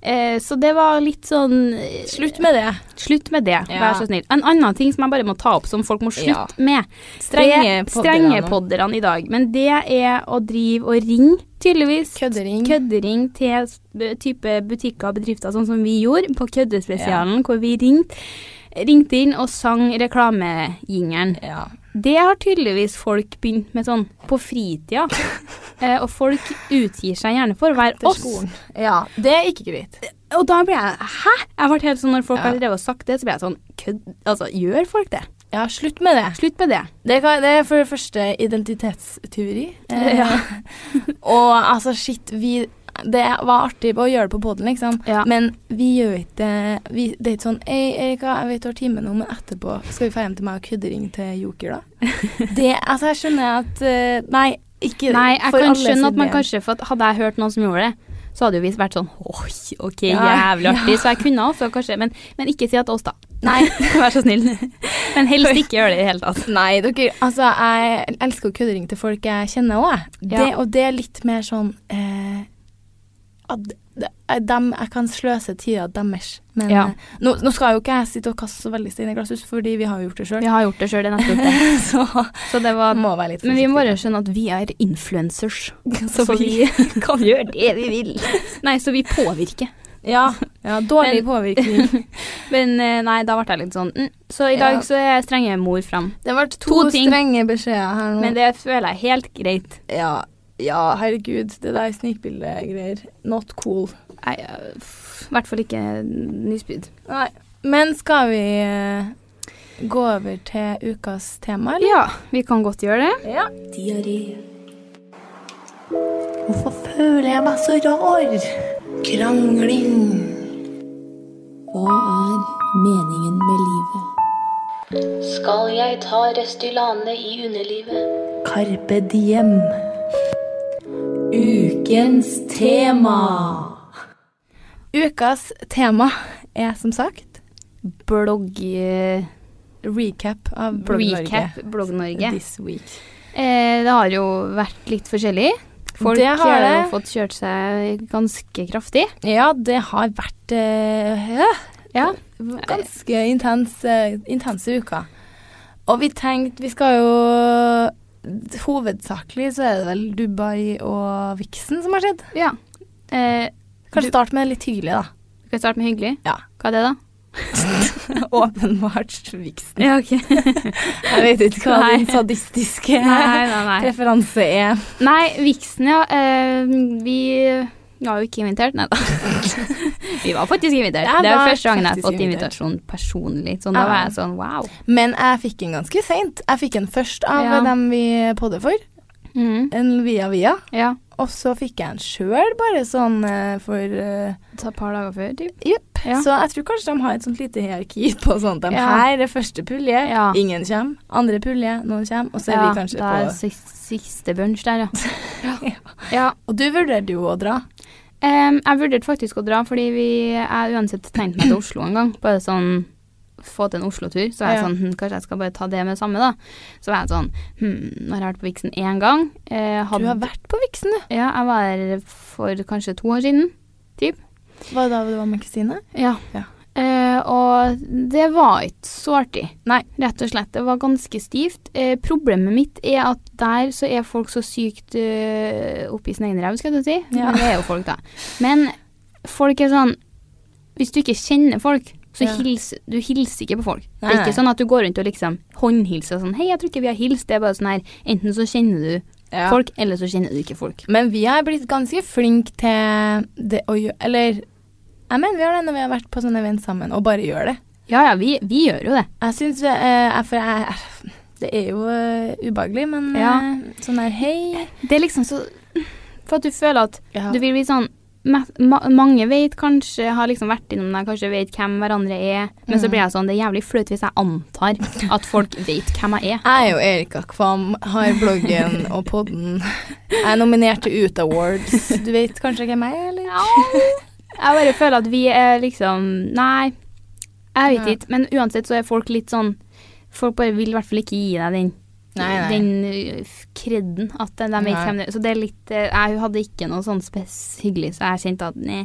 S2: Eh, så det var litt sånn eh,
S1: Slutt med det.
S2: Slutt med det,
S1: Ja.
S2: vær så snill. En annen ting som jeg bare må ta opp, som folk må slutte
S1: Ja.
S2: med.
S1: Strenge
S2: det- strenge
S1: podderne.
S2: podderne i dag. Men det er å drive og ringe, tydeligvis.
S1: Køddering.
S2: Køddering til s- b- type butikker og bedrifter, sånn som vi gjorde på Køddespesialen, hvor vi ringte. Ringte inn og sang reklamejingeren.
S1: Ja.
S2: Det har tydeligvis folk begynt med sånn på fritida. eh, og folk utgir seg gjerne for å være
S1: Til
S2: oss.
S1: skolen. Ja, det er ikke greit.
S2: Og da ble jeg Hæ? Jeg ble helt sånn Når folk
S1: Ja.
S2: har drevet og sagt det, så ble jeg sånn Kødd? Altså, gjør folk det?
S1: Ja, slutt med det.
S2: Slutt med det.
S1: Det, kan, det er for det første identitetstyveri. Eh, og altså, shit, vi Det var artig å gjøre det på poden, liksom.
S2: Ja.
S1: Men vi gjør ikke det vi, Det er ikke sånn Ei, Erika, jeg vet du har time nå, men etterpå skal vi dra hjem til meg og køddering til Joker, da? det Altså, jeg skjønner at eh, Nei, ikke
S2: Nei, jeg
S1: for
S2: kan
S1: alle
S2: skjønne at man
S1: sine.
S2: kanskje for at Hadde jeg hørt noen som gjorde det, så hadde jo vi vært sånn Oi, ok,
S1: Ja.
S2: jævlig artig. Så jeg kunne også kanskje Men, men ikke si at oss, da.
S1: Nei.
S2: Vær så snill. Men helst ikke gjør det i det hele tatt.
S1: Nei, dere, altså, jeg elsker å køddering til folk jeg kjenner òg.
S2: Ja.
S1: Og det er litt mer sånn eh, at de, dem- Jeg kan sløse tida deres. Men
S2: Ja.
S1: eh, nå, nå skal jo ikke jeg sitte og kaste så veldig stein i glasshus, fordi vi har jo gjort det sjøl.
S2: Vi har gjort det sjøl, det er nettopp det.
S1: Så
S2: Så det var
S1: må være litt
S2: Men vi må bare skjønne at vi er influencers. Så vi kan gjøre det vi vil. Nei, så vi påvirker.
S1: Ja, ja dårlig
S2: Men-
S1: påvirkning.
S2: Men eh, nei, da ble jeg litt sånn mm. Så i dag
S1: Ja.
S2: så er strenge mor fram.
S1: Det ble to,
S2: To ting.
S1: strenge beskjeder her nå.
S2: Men det føler jeg er helt greit.
S1: ja, ja, herregud, det der snikbildegreier. Not cool.
S2: Nei, øh, f- i hvert fall ikke nyspyd.
S1: Nei. Men skal vi eh, gå over til ukas tema, eller?
S2: Ja, vi kan godt gjøre det.
S1: Ja.
S4: Diaré.
S5: Hvorfor føler jeg meg så rar?
S4: Krangling. Hva er meningen med livet? Skal jeg ta Restylane i underlivet?
S5: Carpe diem.
S4: Ukens tema.
S1: Ukas tema er som sagt
S2: Blogg... eh,
S1: recap av Blogg
S2: Recap
S1: Norge.
S2: Blogg-Norge.
S1: This week.
S2: Eh, det har jo vært litt forskjellig. Folk eh,
S1: Det har
S2: har jo
S1: det.
S2: fått kjørt seg ganske kraftig.
S1: Ja, det har vært eh,
S2: Ja. Eh,
S1: ganske intens, eh, intense uker. Og vi tenkte Vi skal jo Hovedsakelig så er det vel Dubai og Vixen som har skjedd.
S2: ja. Eh,
S1: Kanskje
S2: Du-
S1: start med litt hyggelig, da.
S2: skal vi starte med hyggelig?
S1: Ja.
S2: Hva er det, da?
S1: Åpenbart Vixen.
S2: Ja, ok.
S1: Jeg vet ikke hva
S2: Nei.
S1: din sadistiske
S2: Nei, nei, nei.
S1: referanse er.
S2: Nei, Vixen, ja. eh, vi var jo ikke invitert, nei da. vi var faktisk invitert.
S1: Jeg
S2: Det er
S1: var
S2: jo første gangen jeg har
S1: faktisk
S2: fått
S1: invitert.
S2: invitasjon personlig. Sånn, da
S1: Ja.
S2: var jeg sånn wow.
S1: Men jeg fikk den ganske seint. Jeg fikk den først av
S2: Ja.
S1: dem vi podder for,
S2: Mhm,
S1: en via via.
S2: Ja.
S1: Og så fikk jeg den sjøl, bare sånn eh, for eh,
S2: Ta et par dager før, typ.
S1: Jepp.
S2: Ja.
S1: Så jeg tror kanskje de har et sånt lite hierarki på sånt. De
S2: Ja.
S1: her er første pulje,
S2: Ja.
S1: ingen kommer. Andre pulje, noen kommer. Og så er
S2: ja,
S1: vi kanskje
S2: da er
S1: på
S2: siste, siste bunch der, ja. ja.
S1: Og du vurderte jo å dra.
S2: Em, jeg vurderte faktisk å dra, fordi vi, jeg uansett tenkte meg til Oslo en gang. Bare sånn få til en Oslo-tur. Så var
S1: Ja.
S2: jeg sånn hm, Kanskje jeg skal bare ta det med det samme, da. Så var jeg sånn Hm, nå har jeg vært på Vixen én gang. Eh,
S1: Du
S2: hadde-
S1: har vært på Vixen, du.
S2: Ja, jeg var her for kanskje to år siden.
S1: Var det da du var med Kristine?
S2: Ja.
S1: Ja.
S2: Eh, og det var ikke så artig.
S1: Nei.
S2: Rett og slett. Det var ganske stivt. Eh, problemet mitt er at der så er folk så sykt eh, oppe i sin egen ræv, skal du si.
S1: Ja.
S2: Men det er jo folk, da. Men folk er sånn Hvis du ikke kjenner folk, så
S1: Ja.
S2: hils, du hilser ikke på folk.
S1: Nei,
S2: det er ikke
S1: nei.
S2: sånn at du går rundt og liksom håndhilser sånn Hei, jeg tror ikke vi har hilst. Det er bare sånn her Enten så kjenner du
S1: Ja.
S2: folk, eller så kjenner du ikke folk.
S1: Men vi har blitt ganske flinke til det å gjøre Eller jeg mener vi har det når vi har vært på sånne event sammen, og bare gjør det.
S2: Ja ja, vi, vi gjør jo det.
S1: Jeg syns det, eh, for jeg, det er jo eh, ubehagelig, men
S2: Ja.
S1: eh, sånn der hei
S2: Det er liksom så For at du føler at
S1: ja.
S2: du vil bli sånn ma- ma Mange vet kanskje, har liksom vært innom deg, kanskje vet hvem hverandre er. Men
S1: Mm.
S2: så blir jeg sånn, det er jævlig flaut hvis jeg antar at folk vet hvem jeg er.
S1: Jeg er jo Erika Kvam, har bloggen og podden. Jeg er nominert til UT Awards. Du vet kanskje hvem jeg er, eller?
S2: Jeg bare føler at vi er liksom Nei, jeg vet ikke. Men uansett så er folk litt sånn Folk bare vil i hvert fall ikke gi deg den,
S1: Nei, nei.
S2: den ø, f- kredden. At de vet
S1: Nei.
S2: hvem det er. Så det er litt ø, Jeg hadde ikke noe sånn spes hyggelig, så jeg kjente at nei.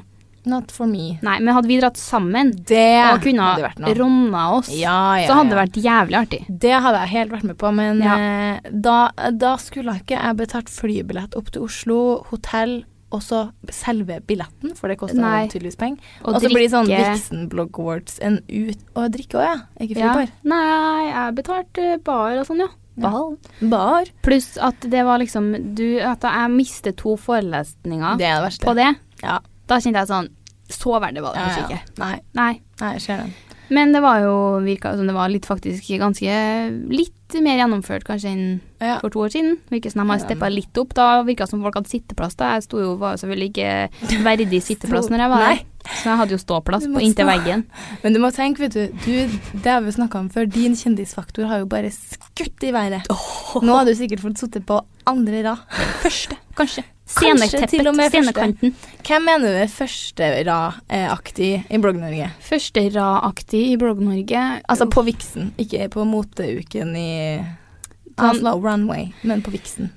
S1: Not for me.
S2: nei. Men hadde vi dratt sammen,
S1: Det
S2: og kunne
S1: hadde vært
S2: ha
S1: noe.
S2: ronna oss,
S1: Ja, ja,
S2: så hadde det
S1: ja.
S2: vært jævlig artig.
S1: Det hadde jeg helt vært med på, men
S2: Ja.
S1: eh, da, da skulle ikke jeg betalt flybillett opp til Oslo, hotell og så selve billetten, for det kosta
S2: Nei.
S1: tydeligvis penger.
S2: Og
S1: Og så blir det sånn
S2: drikke.
S1: Vixen Blog Awards en ut... Og drikke òg, ja. Ikke
S2: Ja.
S1: fribar.
S2: Nei, jeg betalte bar og sånn, ja.
S1: Ball. Bar.
S2: Pluss at det var liksom du, At jeg mistet to forelesninger
S1: Det er det verste.
S2: på det.
S1: Ja.
S2: Da kjente jeg sånn Så verdt var det
S1: Ja,
S2: kanskje
S1: ja.
S2: ikke.
S1: Nei,
S2: Nei.
S1: nei, jeg ser den.
S2: Men det var jo virka som det var litt faktisk ganske Litt mer gjennomført kanskje enn
S1: Ja.
S2: for to år siden. Virker som de har steppa litt opp. Da virka som folk hadde sitteplass. Da jeg sto jo, var jo selvfølgelig ikke verdig sitteplass når jeg var
S1: Nei.
S2: der. Så jeg hadde jo ståplass
S1: Du
S2: på
S1: måtte
S2: inntil
S1: stå.
S2: veggen.
S1: Men du må tenke, vet du, du det har vi snakka om før, din kjendisfaktor har jo bare skutt i været. Nå har du sikkert fått sittet på andre rad. Første.
S2: Kanskje.
S1: Kanskje til og
S2: Sceneteppet.
S1: med første.
S2: Scenekanten.
S1: Hvem mener du er første rad-aktig i Blogg-Norge?
S2: Første radaktig i Blogg-Norge.
S1: Altså på Vixen, ikke på moteuken i Oslo Runway, men på Vixen.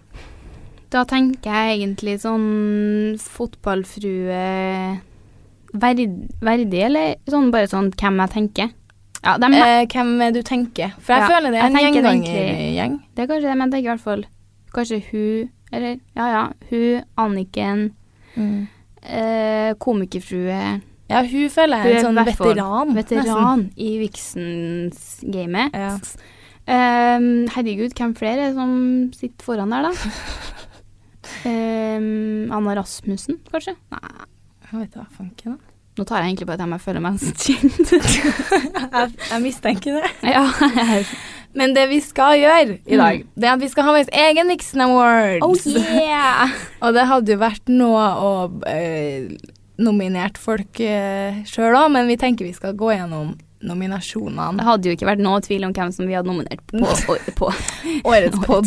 S2: Da tenker jeg egentlig sånn fotballfrue verd, Verdig, eller sånn bare sånn hvem jeg tenker. Ja, dem,
S1: Eh, hvem er du tenker? For jeg
S2: Ja,
S1: føler det er
S2: jeg
S1: en
S2: tenker det egentlig-
S1: gjengangergjeng.
S2: Det er kanskje det, men det er i hvert fall Kanskje hun, eller Ja ja, hun, Anniken,
S1: Mm.
S2: eh, komikerfrue,
S1: Ja, hun føler
S2: Hun
S1: jeg
S2: er
S1: er en sånn
S2: i hvert fall
S1: veteran. nesten.
S2: veteran i Vixens-gamet.
S1: Ja.
S2: Ehm, herregud, hvem flere er det som sitter foran der, da? Ehm, Anna Rasmussen, kanskje? Nei.
S1: Jeg vet da, fanken. da.
S2: Nå tar jeg egentlig bare dem jeg føler meg mest kjent.
S1: Jeg, jeg mistenker det.
S2: ja, jeg-
S1: Men det vi skal gjøre i dag,
S2: Mm.
S1: det er at vi skal ha vår egen Nixon Awards.
S2: oh yeah!
S1: Og det hadde jo vært noe å eh, nominert folk uh, sjøl òg, men vi tenker vi skal gå gjennom
S2: Det
S1: nominasjonene.
S2: hadde jo ikke vært noe tvil om hvem som vi hadde nominert på. på
S1: Årets pod.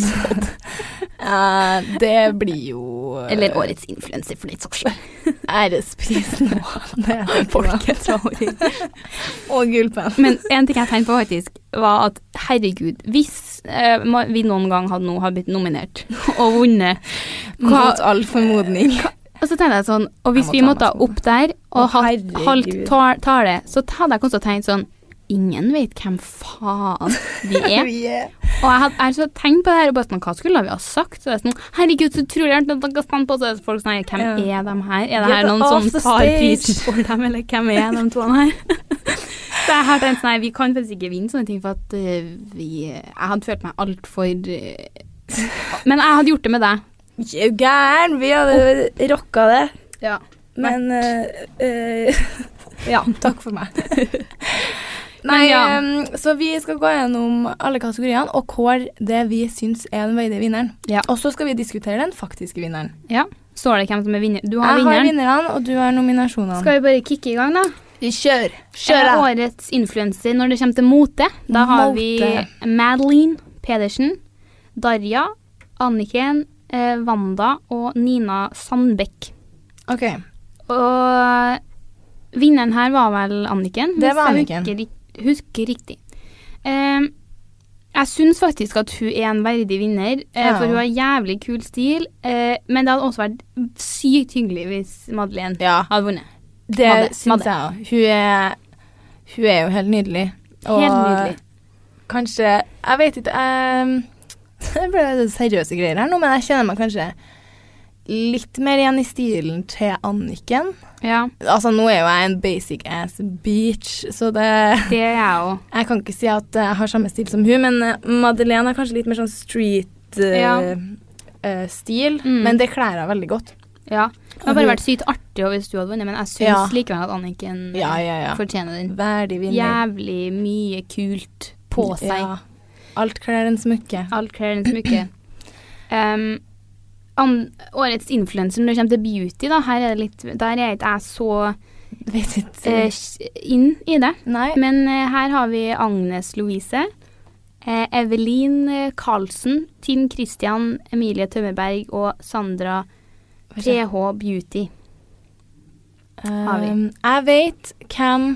S1: Eh, det blir jo eh,
S2: eller årets influenser, for litt saks skyld.
S1: æresprisen og det er det ikke noe. Og gullpenn.
S2: Men en ting jeg tenkte på faktisk, var at herregud, hvis eh, ma- vi noen gang hadde, no, hadde blitt nominert og vunnet hva,
S1: Mot all formodning.
S2: Og så tenkte jeg sånn, og hvis
S1: Jeg må
S2: vi
S1: ta
S2: måtte
S1: meg
S2: opp der
S1: Å,
S2: og hatt
S1: herregud.
S2: halvt ta- tale, så hadde jeg kanskje tenkt sånn Ingen vet hvem faen vi er.
S1: Yeah.
S2: Og jeg hadde jeg så tenkt på det her og bare sånn, hva skulle vi ha sagt? Så det er sånn, herregud, så utrolig gjerne at dere spant på, så er det folk sånn, hvem
S1: Ja.
S2: er de her? Er
S1: Get
S2: det her noen
S1: off
S2: som
S1: the
S2: tar
S1: stage.
S2: prisen for dem, eller hvem er de to her? så jeg har tenkt sånn, nei, vi kan faktisk ikke vinne sånne ting, for at eh, vi, jeg hadde følt meg alt for... eh, men jeg hadde gjort det med deg.
S3: Er du gæren? Vi hadde rocka det.
S2: Ja.
S3: Men eh, eh,
S1: Ja, takk for meg. Nei,
S2: Men ja.
S1: em, så vi skal gå gjennom alle kategoriene og kåre det vi syns er den verdige vinneren.
S2: Ja.
S1: Og så skal vi diskutere den faktiske vinneren.
S2: Står det hvem som er vinner? Du har
S1: Jeg har
S2: vinneren.
S1: vinnerne, og du har nominasjonene.
S2: Skal vi bare kikke i gang da?
S1: vi kjøre?
S2: Eh, Årets influenser når det kommer til mote. Da har
S1: Mote.
S2: vi Madeline Pedersen, Darja, Anniken, eh, Wanda og Nina Sandbekk.
S1: OK.
S2: Og vinneren her var vel Anniken?
S1: Det
S2: hvis
S1: var
S2: jeg
S1: Anniken.
S2: Husker, rik- husker riktig. Eh, jeg syns faktisk at hun er en verdig vinner, eh,
S1: Ja.
S2: for hun har jævlig kul stil. Eh, men det hadde også vært sykt hyggelig hvis Madeleine
S1: Ja.
S2: hadde vunnet.
S1: Det
S2: Madde,
S1: syns jeg òg. Hun, er- hun er jo helt nydelig. Og
S2: Helt nydelig.
S1: kanskje Jeg vet ikke em, Det ble litt seriøse greier her nå, men jeg kjenner meg kanskje litt mer igjen i stilen til Anniken.
S2: Ja,
S1: Altså, nå er jo jeg en basic ass beach, så det
S2: det er jeg òg.
S1: Jeg kan ikke si at jeg har samme stil som hun, men eh, Madeleine har kanskje litt mer sånn street eh,
S2: Ja.
S1: eh, stil,
S2: Mm.
S1: men det kler henne veldig godt.
S2: Ja. Det hadde bare vært sykt artig også hvis du hadde vunnet, men jeg syns
S1: Ja.
S2: likevel at Anniken eh,
S1: Ja, ja, ja.
S2: fortjener den.
S1: Verdig vinner.
S2: Jævlig mye kult på seg.
S1: Ja. Alt kler en smykke.
S2: Alt kler den smykke. Um, an, årets influenser når det kommer til beauty, da, her er det litt, der er ikke jeg så
S1: Vet ikke.
S2: eh, s- inn i det.
S1: Nei.
S2: Men eh, her har vi Agnes Louise, eh, Evelyn eh, Karlsen, Tim Christian, Emilie Tømmerberg og Sandra TH Beauty. har vi.
S1: Um, jeg vet hvem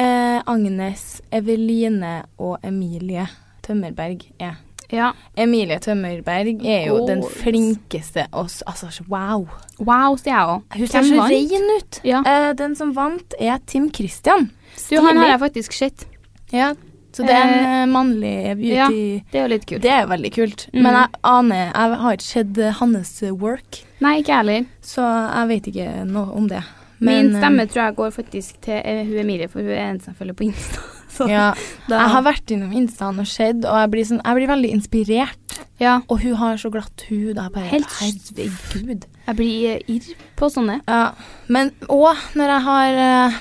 S1: eh, Agnes, Eveline og Emilie Tømmerberg er.
S2: Ja.
S1: Emilie Tømmerberg er jo den
S2: Goals.
S1: flinkeste oss. Altså, wow.
S2: Wow, sier jeg òg.
S1: Hun ser så rein ut.
S2: Ja.
S1: Eh, den som vant, er Tim Christian.
S2: Du, han har jeg faktisk sett.
S1: Ja, så det er en eh, mannlig
S2: ja.
S1: beauty.
S2: Det er jo litt kult.
S1: Det er jo veldig kult.
S2: Mhm.
S1: Men jeg aner Jeg har ikke sett eh, hans eh, work,
S2: Nei, ikke jeg heller.
S1: så jeg vet ikke noe om det.
S2: Min
S1: eh,
S2: stemme tror jeg går faktisk til eh, hun Emilie, for hun er en som jeg følger på Insta. Så
S1: ja,
S2: da-
S1: jeg har vært innom Instaen og sett, og jeg blir, sånn, jeg blir veldig inspirert.
S2: ja,
S1: Og hun har så glatt hud. og Jeg bare,
S2: Helt
S1: Herregud.
S2: jeg blir eh, irr på sånne.
S1: Ja, men òg når jeg har eh,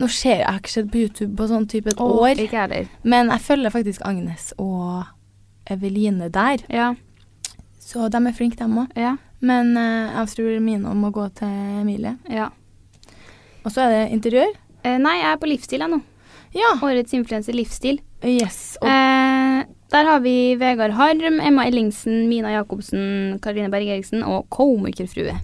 S1: Nå ser jeg, jeg har ikke sett på YouTube på sånn type et
S2: Åh,
S1: år,
S2: Ikke jeg heller.
S1: men jeg følger faktisk Agnes og Eveline der.
S2: Ja,
S1: Så de er flinke, dem òg.
S2: ja,
S1: Men eh, jeg tror mine om å gå til Emilie.
S2: ja.
S1: Og så er det interiør.
S2: Eh, nei, jeg er på livsstil jeg nå.
S1: Ja.
S2: Årets influenser livsstil.
S1: Yes. Og
S2: Eh, der har vi Vegard Harm, Emma Ellingsen, Mina Jacobsen, Karoline Berg Eriksen og komikerfrue.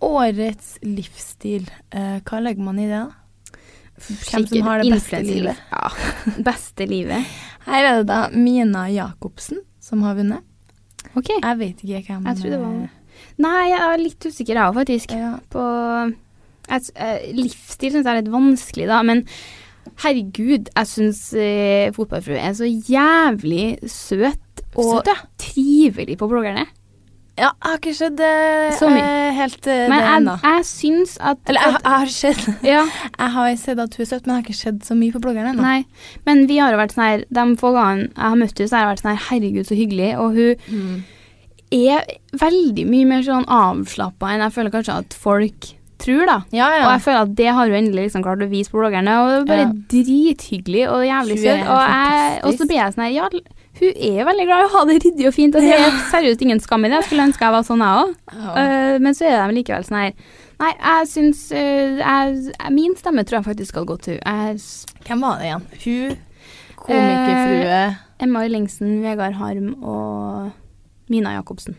S1: årets livsstil. Eh, hva legger man i det, da? Hvem som
S2: Sikkert
S1: har det beste
S2: influencer-
S1: livet?
S2: Ja, beste livet.
S1: Her er det da Mina Jacobsen som har vunnet.
S2: Ok.
S1: Jeg vet ikke hvem eh,
S2: Jeg tror det var Eh, Nei, jeg er litt usikker jeg òg, faktisk.
S1: ja.
S2: På jeg, s- eh, Livsstil syns jeg er litt vanskelig, da. Men herregud, jeg syns eh, fotballfrue er så jævlig søt og
S1: Søt, ja.
S2: trivelig på bloggerne.
S1: ja, jeg har ikke sett eh,
S2: Så mye.
S1: eh, helt eh,
S2: Men
S1: det
S2: jeg,
S1: ennå.
S2: jeg syns at,
S1: Eller jeg,
S2: at
S1: jeg har sett
S2: ja,
S1: Jeg har sett at hun er søt, men jeg har ikke sett så mye på bloggeren ennå.
S2: nei. Men vi har jo vært sånn her De få gangene jeg har møtt henne, så har jeg vært sånn her Herregud, så hyggelig. Og hun
S1: Mm.
S2: er veldig mye mer sånn avslappa enn jeg føler kanskje at folk tror, da.
S1: Ja, ja.
S2: Og jeg føler at det har hun endelig liksom klart å vise på bloggerne. Og det er bare
S1: Ja.
S2: drithyggelig og jævlig
S1: Hun er
S2: søt. Og, jeg-
S1: fantastisk.
S2: og så blir jeg sånn her Ja, l- hun er veldig glad i å ha det ryddig og fint. Og det er seriøst ingen skam i det. Jeg skulle ønske jeg var sånn, jeg òg. men så er de likevel sånn her Nei, jeg syns eh, jeg, jeg- Min stemme tror jeg faktisk skal gå til hun. Jeg s-
S1: Hvem var det igjen? Hun, eh, komikerfrue
S2: Emma Ellingsen, Vegard Harm og Mina Jacobsen.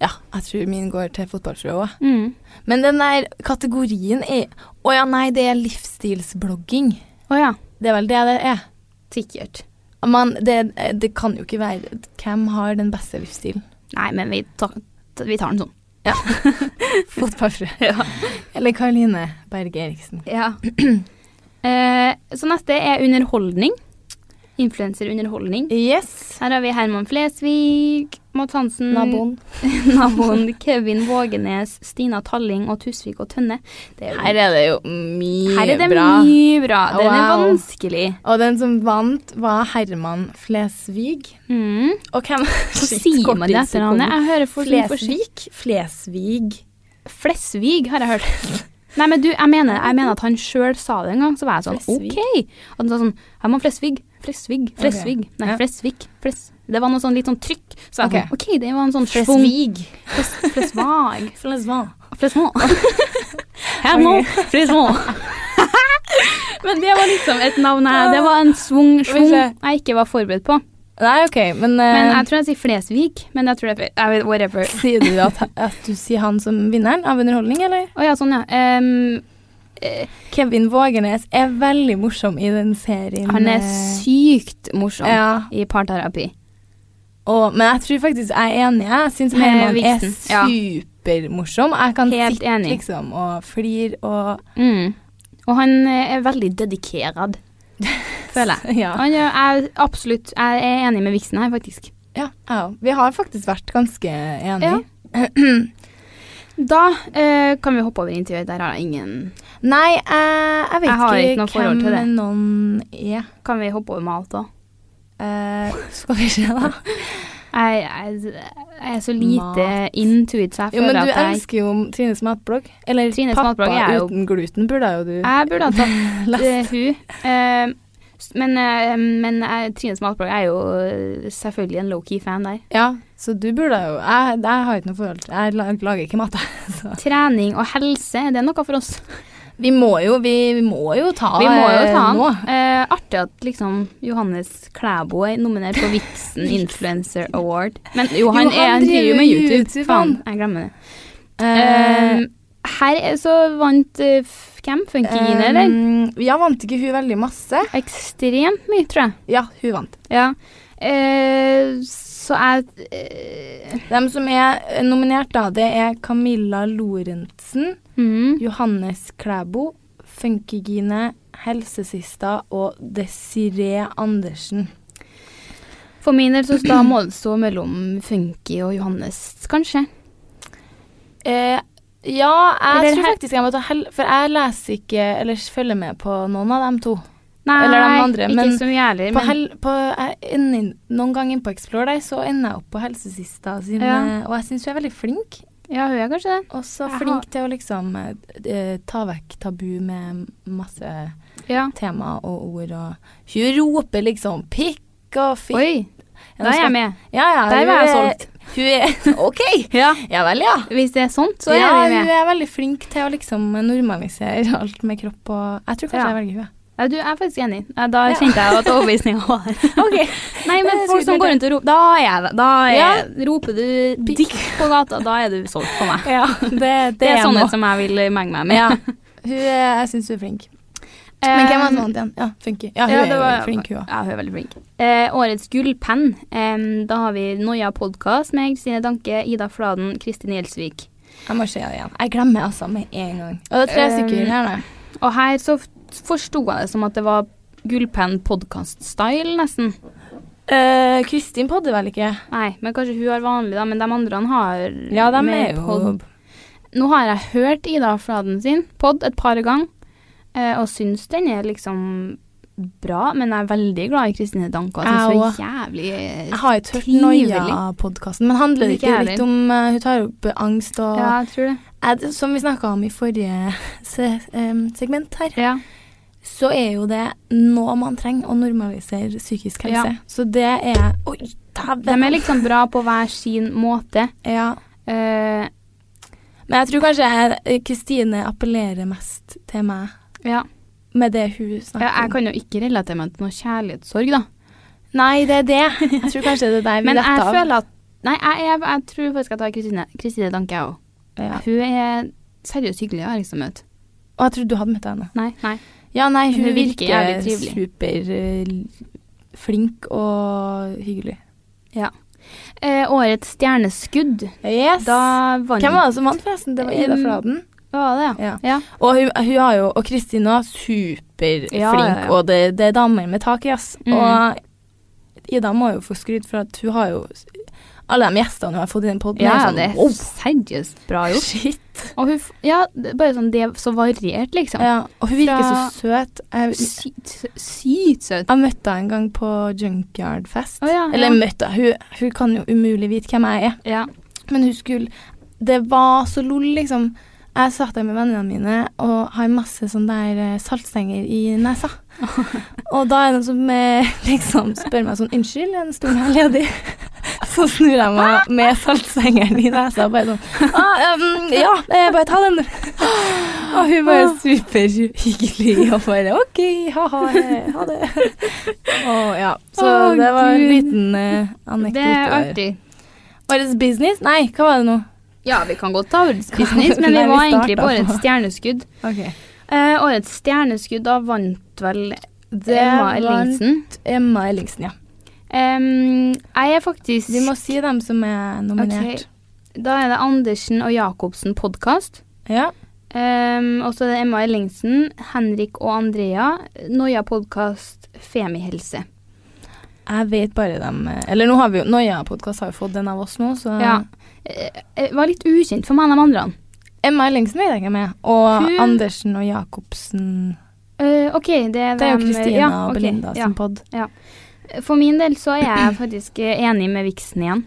S1: Ja, jeg tror min går til fotballfrue òg.
S2: Mm.
S1: Men den der kategorien er Å ja, nei, det er livsstilsblogging.
S2: Å ja.
S1: Det er vel det det er.
S2: Sikkert.
S1: Men det, det kan jo ikke være Hvem har den beste livsstilen?
S2: Nei, men vi, ta, vi tar den sånn.
S1: Fotballfrue. Eller Karoline Berge Eriksen.
S2: Ja. Eh, så neste er underholdning. Influenserunderholdning.
S1: Yes.
S2: Her har vi Herman Flesvig, Mads Hansen
S1: Naboen.
S2: Naboen, Kevin Vågenes, Stina Talling og Tusvik og Tønne. Det er jo-
S1: Her er det jo mye
S2: her er det
S1: bra.
S2: mye bra. Den er
S1: Wow.
S2: vanskelig.
S1: Og den som vant, var Herman Flesvig.
S2: Mm.
S1: Og hvem
S2: Så sier man det etter han. Jeg hører folk som forsøker-
S1: Flesvig? Flesvig.
S2: Flesvig, har jeg hørt. Nei, men du, jeg mener, jeg mener at han sjøl sa det en gang, så var jeg sånn
S1: Flesvig?
S2: OK. Og han sa sånn Herman Flesvig. Flesvig. Flesvig. Nei,
S1: Ja.
S2: Flesvig. Fles. Det var noe sånn litt sånn trykk. Så jeg
S1: Ok.
S2: sånn, OK, det var en sånn schwung.
S1: Flesvig.
S2: Fles, flesvag.
S1: Flesvig.
S2: Flesvå. Herman Flesvå. Men det var liksom et navn jeg Det var en svung, svung jeg ikke var forberedt på.
S1: Nei, OK, men,
S2: Men
S1: eh,
S2: jeg tror jeg sier Flesvig, men jeg tror det er feil. Jeg vet- Whatever.
S1: Sier du at, at du sier han som vinneren av underholdning, eller?
S2: Å ja, sånn, ja. Em, eh,
S1: Kevin Vågenes er veldig morsom i den serien.
S2: han
S1: eh,
S2: er sykt morsom
S1: Ja,
S2: i parterapi.
S1: og, men jeg tror faktisk jeg er enig. Jeg syns
S2: Med
S1: Herman er
S2: Viksen, ja.
S1: supermorsom. Jeg kan
S2: Helt
S1: sitte
S2: enig.
S1: liksom og flire og
S2: Mm. Og han eh, er veldig dedikert, føler jeg.
S1: Ja,
S2: Han er, jeg, er absolutt, jeg er enig med Viksen her, faktisk.
S1: ja, ja. Vi har faktisk vært ganske enige.
S2: Ja. Da eh, kan vi hoppe over intervjuet. Der har jeg ingen
S1: Nei, jeg, jeg vet
S2: Jeg har ikke noe forhold
S1: hvem
S2: til det.
S1: noen er.
S2: Kan vi hoppe over Malt òg?
S1: Eh, skal vi se, da.
S2: Jeg, jeg, jeg er så lite
S1: Mat.
S2: intuit, så jeg
S1: Jo,
S2: føler
S1: men du
S2: at jeg
S1: elsker jo Trines matblogg. Eller
S2: Trines
S1: Pappa
S2: matblogg er jo-
S1: uten gluten burde jo du
S2: Jeg burde ha tatt
S1: Lest.
S2: eh, hun. Eh, s- men eh, men jeg, Trines matblogg er jo eh, selvfølgelig en low-key fan der.
S1: Ja, så du burde jo Jeg, jeg har ikke noe forhold til Jeg lag- lager ikke mat, jeg. så.
S2: Trening og helse, er det noe for oss?
S1: Vi må jo, vi, vi må jo ta
S2: Vi må jo
S1: eh,
S2: ta han.
S1: nå.
S2: Eh, artig at liksom Johannes Klæbo er nominert på Vixen Influencer Award. Men jo, han,
S1: Jo, han
S2: er, han driver jo med
S1: driver
S2: YouTube.
S1: YouTube,
S2: Faen,
S1: han.
S2: jeg glemmer det.
S1: Eh,
S2: Eh, her er så vant eh, f- Hvem? Funkygine, eller?
S1: eh, Ja, vant ikke hun veldig masse?
S2: Ekstremt mye, tror jeg.
S1: Ja, hun vant.
S2: Ja. Eh, så jeg eh,
S1: De som er eh, nominert, da, det er Camilla Lorentzen,
S2: mm,
S1: Johannes Klæbo, Funkygine, Helsesista og Desiree Andersen.
S2: For min del så da må det stå mellom Funky og Johannes, kanskje.
S1: Eh, ja, jeg
S2: Eller
S1: tror
S2: her-
S1: faktisk jeg må ta hell... For jeg leser ikke eller følger med på noen av dem to.
S2: Nei,
S1: Eller de andre,
S2: ikke
S1: men
S2: så mye heller.
S1: På
S2: men-
S1: hel, på, jeg ender, inn- noen ganger inn på Explore der, så ender jeg opp på helsesista sine,
S2: Ja.
S1: og jeg syns hun er veldig flink.
S2: Ja, hun er kanskje det.
S1: Og så
S2: Jeg
S1: flink til å liksom eh, ta vekk tabu med masse
S2: Ja.
S1: tema og ord og Hun roper liksom 'pikk' og 'fikk'.
S2: Oi, da er jeg med.
S1: Ja, ja,
S2: Der
S1: hun
S2: var jeg
S1: er- Hun er OK!
S2: Ja.
S1: Ja vel, ja.
S2: Hvis det er sånt, så er
S1: ja,
S2: vi med.
S1: hun er veldig flink til å liksom normalisere alt med kropp og Jeg tror kanskje
S2: Ja.
S1: jeg velger henne.
S2: Ja, du, jeg er faktisk enig. Ja, Da kjente jeg at overbevisninga var her.
S1: Okay.
S2: Nei, men
S1: Det er
S2: folk som
S1: supert,
S2: går rundt og roper Da er jeg det. Da er,
S1: Ja.
S2: roper du dick på gata, da er du solgt for meg.
S1: Ja, det, det,
S2: Det er sånn
S1: jeg må.
S2: sånne som jeg vil menge meg med.
S1: Ja. Hun er, jeg syns hun er flink. Men hvem var det som vant igjen? Ja, Funky. Ja, hun
S2: Eh, Ja,
S1: er
S2: det
S1: jo
S2: var-
S1: flink, hun òg.
S2: Ja, hun er veldig flink. Eh, årets gullpenn. Em, da har vi Noia podkast med Kristine Danke, Ida Fladen, Kristin Gjelsvik.
S1: Jeg må se det igjen. Jeg glemmer altså med en gang. Eh, Og det er tre
S2: Um,
S1: stykker her nå.
S2: Og her så f- forsto jeg det som at det var gullpenn podkast-style, nesten.
S1: Eh, Kristin podder vel ikke?
S2: Nei, men kanskje hun har vanlig, da. Men de andre har
S1: Ja, de
S2: mer
S1: er jo
S2: pod. Nå har jeg hørt Ida Fladen sin pod et par ganger, eh, og syns den er liksom bra, men jeg er veldig glad i Kristine Danke. og Jeg syns hun er jævlig eh,
S1: Jeg har ikke hørt
S2: Trivelig.
S1: Noia-podkasten, men handler det
S2: Ikke
S1: ikke
S2: jeg
S1: litt om eh, Hun tar opp angst og
S2: Ja, jeg tror det.
S1: jeg, som vi snakka om i forrige se, em, segment her, så er jo det noe man trenger å normalisere psykisk helse.
S2: Ja.
S1: Så det er Oi,
S2: De
S1: dæven!
S2: er liksom bra på hver sin måte.
S1: Ja.
S2: Eh,
S1: Men jeg tror kanskje jeg- eh, Kristine appellerer mest til meg
S2: ja.
S1: med det hun
S2: ja.
S1: snakker
S2: Jeg
S1: om.
S2: kan jo ikke relatere meg til noe kjærlighetssorg, da.
S1: Nei, det er det. Jeg tror kanskje det er der vi
S2: Men
S1: detter
S2: jeg
S1: av.
S2: føler at Nei, jeg, jeg, jeg tror faktisk at jeg tar Kristine, Kristine Danke, jeg òg.
S1: Ja.
S2: Hun er seriøst hyggelig å liksom møte.
S1: Og jeg tror du hadde møtt henne.
S2: Nei, nei.
S1: Ja, nei, hun,
S2: Hun virker
S1: virker,
S2: jævlig trivelig.
S1: superflink og hyggelig.
S2: Eh, årets stjerneskudd.
S1: Yes!
S2: Da vant
S1: Hvem var det som vant, forresten? Det var Ida
S2: Um,
S1: Fladen.
S2: Hva var det,
S1: Ja.
S2: ja.
S1: Og hun, hun har jo, og Kristin var superflink,
S2: Ja, ja, ja.
S1: og det, det er damer med tak i, ass.
S2: Mm.
S1: Og Ida må jo få skryt for at hun har jo Alle de gjestene hun har fått i den poden, er
S2: Ja, ja,
S1: sånn
S2: det er
S1: wow,
S2: seriøst bra gjort.
S1: shit.
S2: Og hun, f- ja, det- bare sånn, det er så variert, liksom.
S1: Ja, og hun virker
S2: Fra-
S1: så søt. Jeg,
S2: Sykt sykt søt.
S1: jeg møtte henne en gang på Junkyard-fest.
S2: Å, ja, ja.
S1: Eller møtte henne. Hun, hun kan jo umulig vite hvem jeg er.
S2: Ja.
S1: Men hun skulle Det var så lol, liksom. Jeg satt der med vennene mine og har masse sånn der eh, saltstenger i nesa. og da er det noen som eh, liksom spør meg sånn Unnskyld, er den stolen her ledig? Så snur jeg meg med saltstengeren i nesa og bare sånn ah, um, Ja, eh, bare ta den. og hun bare superhyggelig og bare OK, ha-ha, eh, ha det. og ja. Så
S2: Å,
S1: det var en
S2: Gud.
S1: liten eh,
S2: Det er
S1: anekdote.
S2: artig.
S1: Årets business? Nei, hva var det nå?
S2: Ja, vi kan godt ta årets business, men
S1: Nei,
S2: vi
S1: vi
S2: var egentlig på
S1: startet på-
S2: årets stjerneskudd.
S1: Ok.
S2: Eh, årets stjerneskudd, da vant vel
S1: Det
S2: Emma
S1: vant-
S2: Ellingsen.
S1: Emma Ellingsen, ja.
S2: Em, jeg er faktisk
S1: Vi må si dem som er nominert.
S2: Ok, Da er det Andersen og Jacobsen podkast.
S1: Ja.
S2: Um, og så er det Emma Ellingsen, Henrik og Andrea, Noia podkast, Femihelse.
S1: Jeg vet bare dem eh, Eller nå har vi jo Noia-podkast har jo fått en av oss nå, så
S2: Ja. Eh, eh, var litt ukjent for meg, de andre.
S1: Emma Ellingsen vet jeg ikke med. Og
S2: Hun-
S1: Andersen og Jacobsen.
S2: Eh, OK, det er
S1: Det er jo
S2: dem-
S1: Kristina
S2: ja,
S1: og
S2: ok,
S1: Belinda
S2: ja.
S1: sin pod.
S2: For min del så er jeg faktisk eh, enig med Vixen igjen.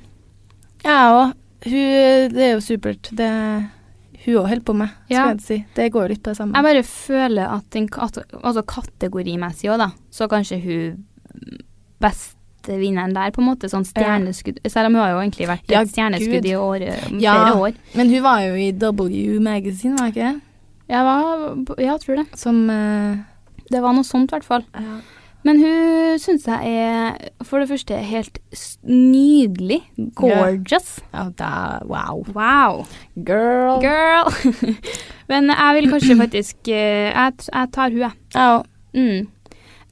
S1: Jeg òg. Hun Det er jo supert. Det hun òg holder på med,
S2: Ja.
S1: skal jeg si. Det går litt på det samme.
S2: Jeg bare føler at den, ka- at, altså kategorimessig òg, da, så kanskje hun beste vinneren der, på en måte. Sånn stjerneskudd. Selv om hun har jo egentlig vært
S1: Ja,
S2: et stjerneskudd
S1: Gud.
S2: i år, eh, flere
S1: Ja.
S2: år.
S1: Men hun var jo i W Magazine, var hun ikke det?
S2: Jeg var, ja, tror det.
S1: Som eh,
S2: Det var noe sånt, i hvert fall. Men hun syns jeg er for det første helt s- nydelig. Gorgeous.
S1: Ja, da, wow.
S2: Wow.
S1: Girl.
S2: Girl. Men jeg vil kanskje faktisk eh, Jeg, t- jeg tar hun, jeg.
S1: Ja, og-
S2: Mm.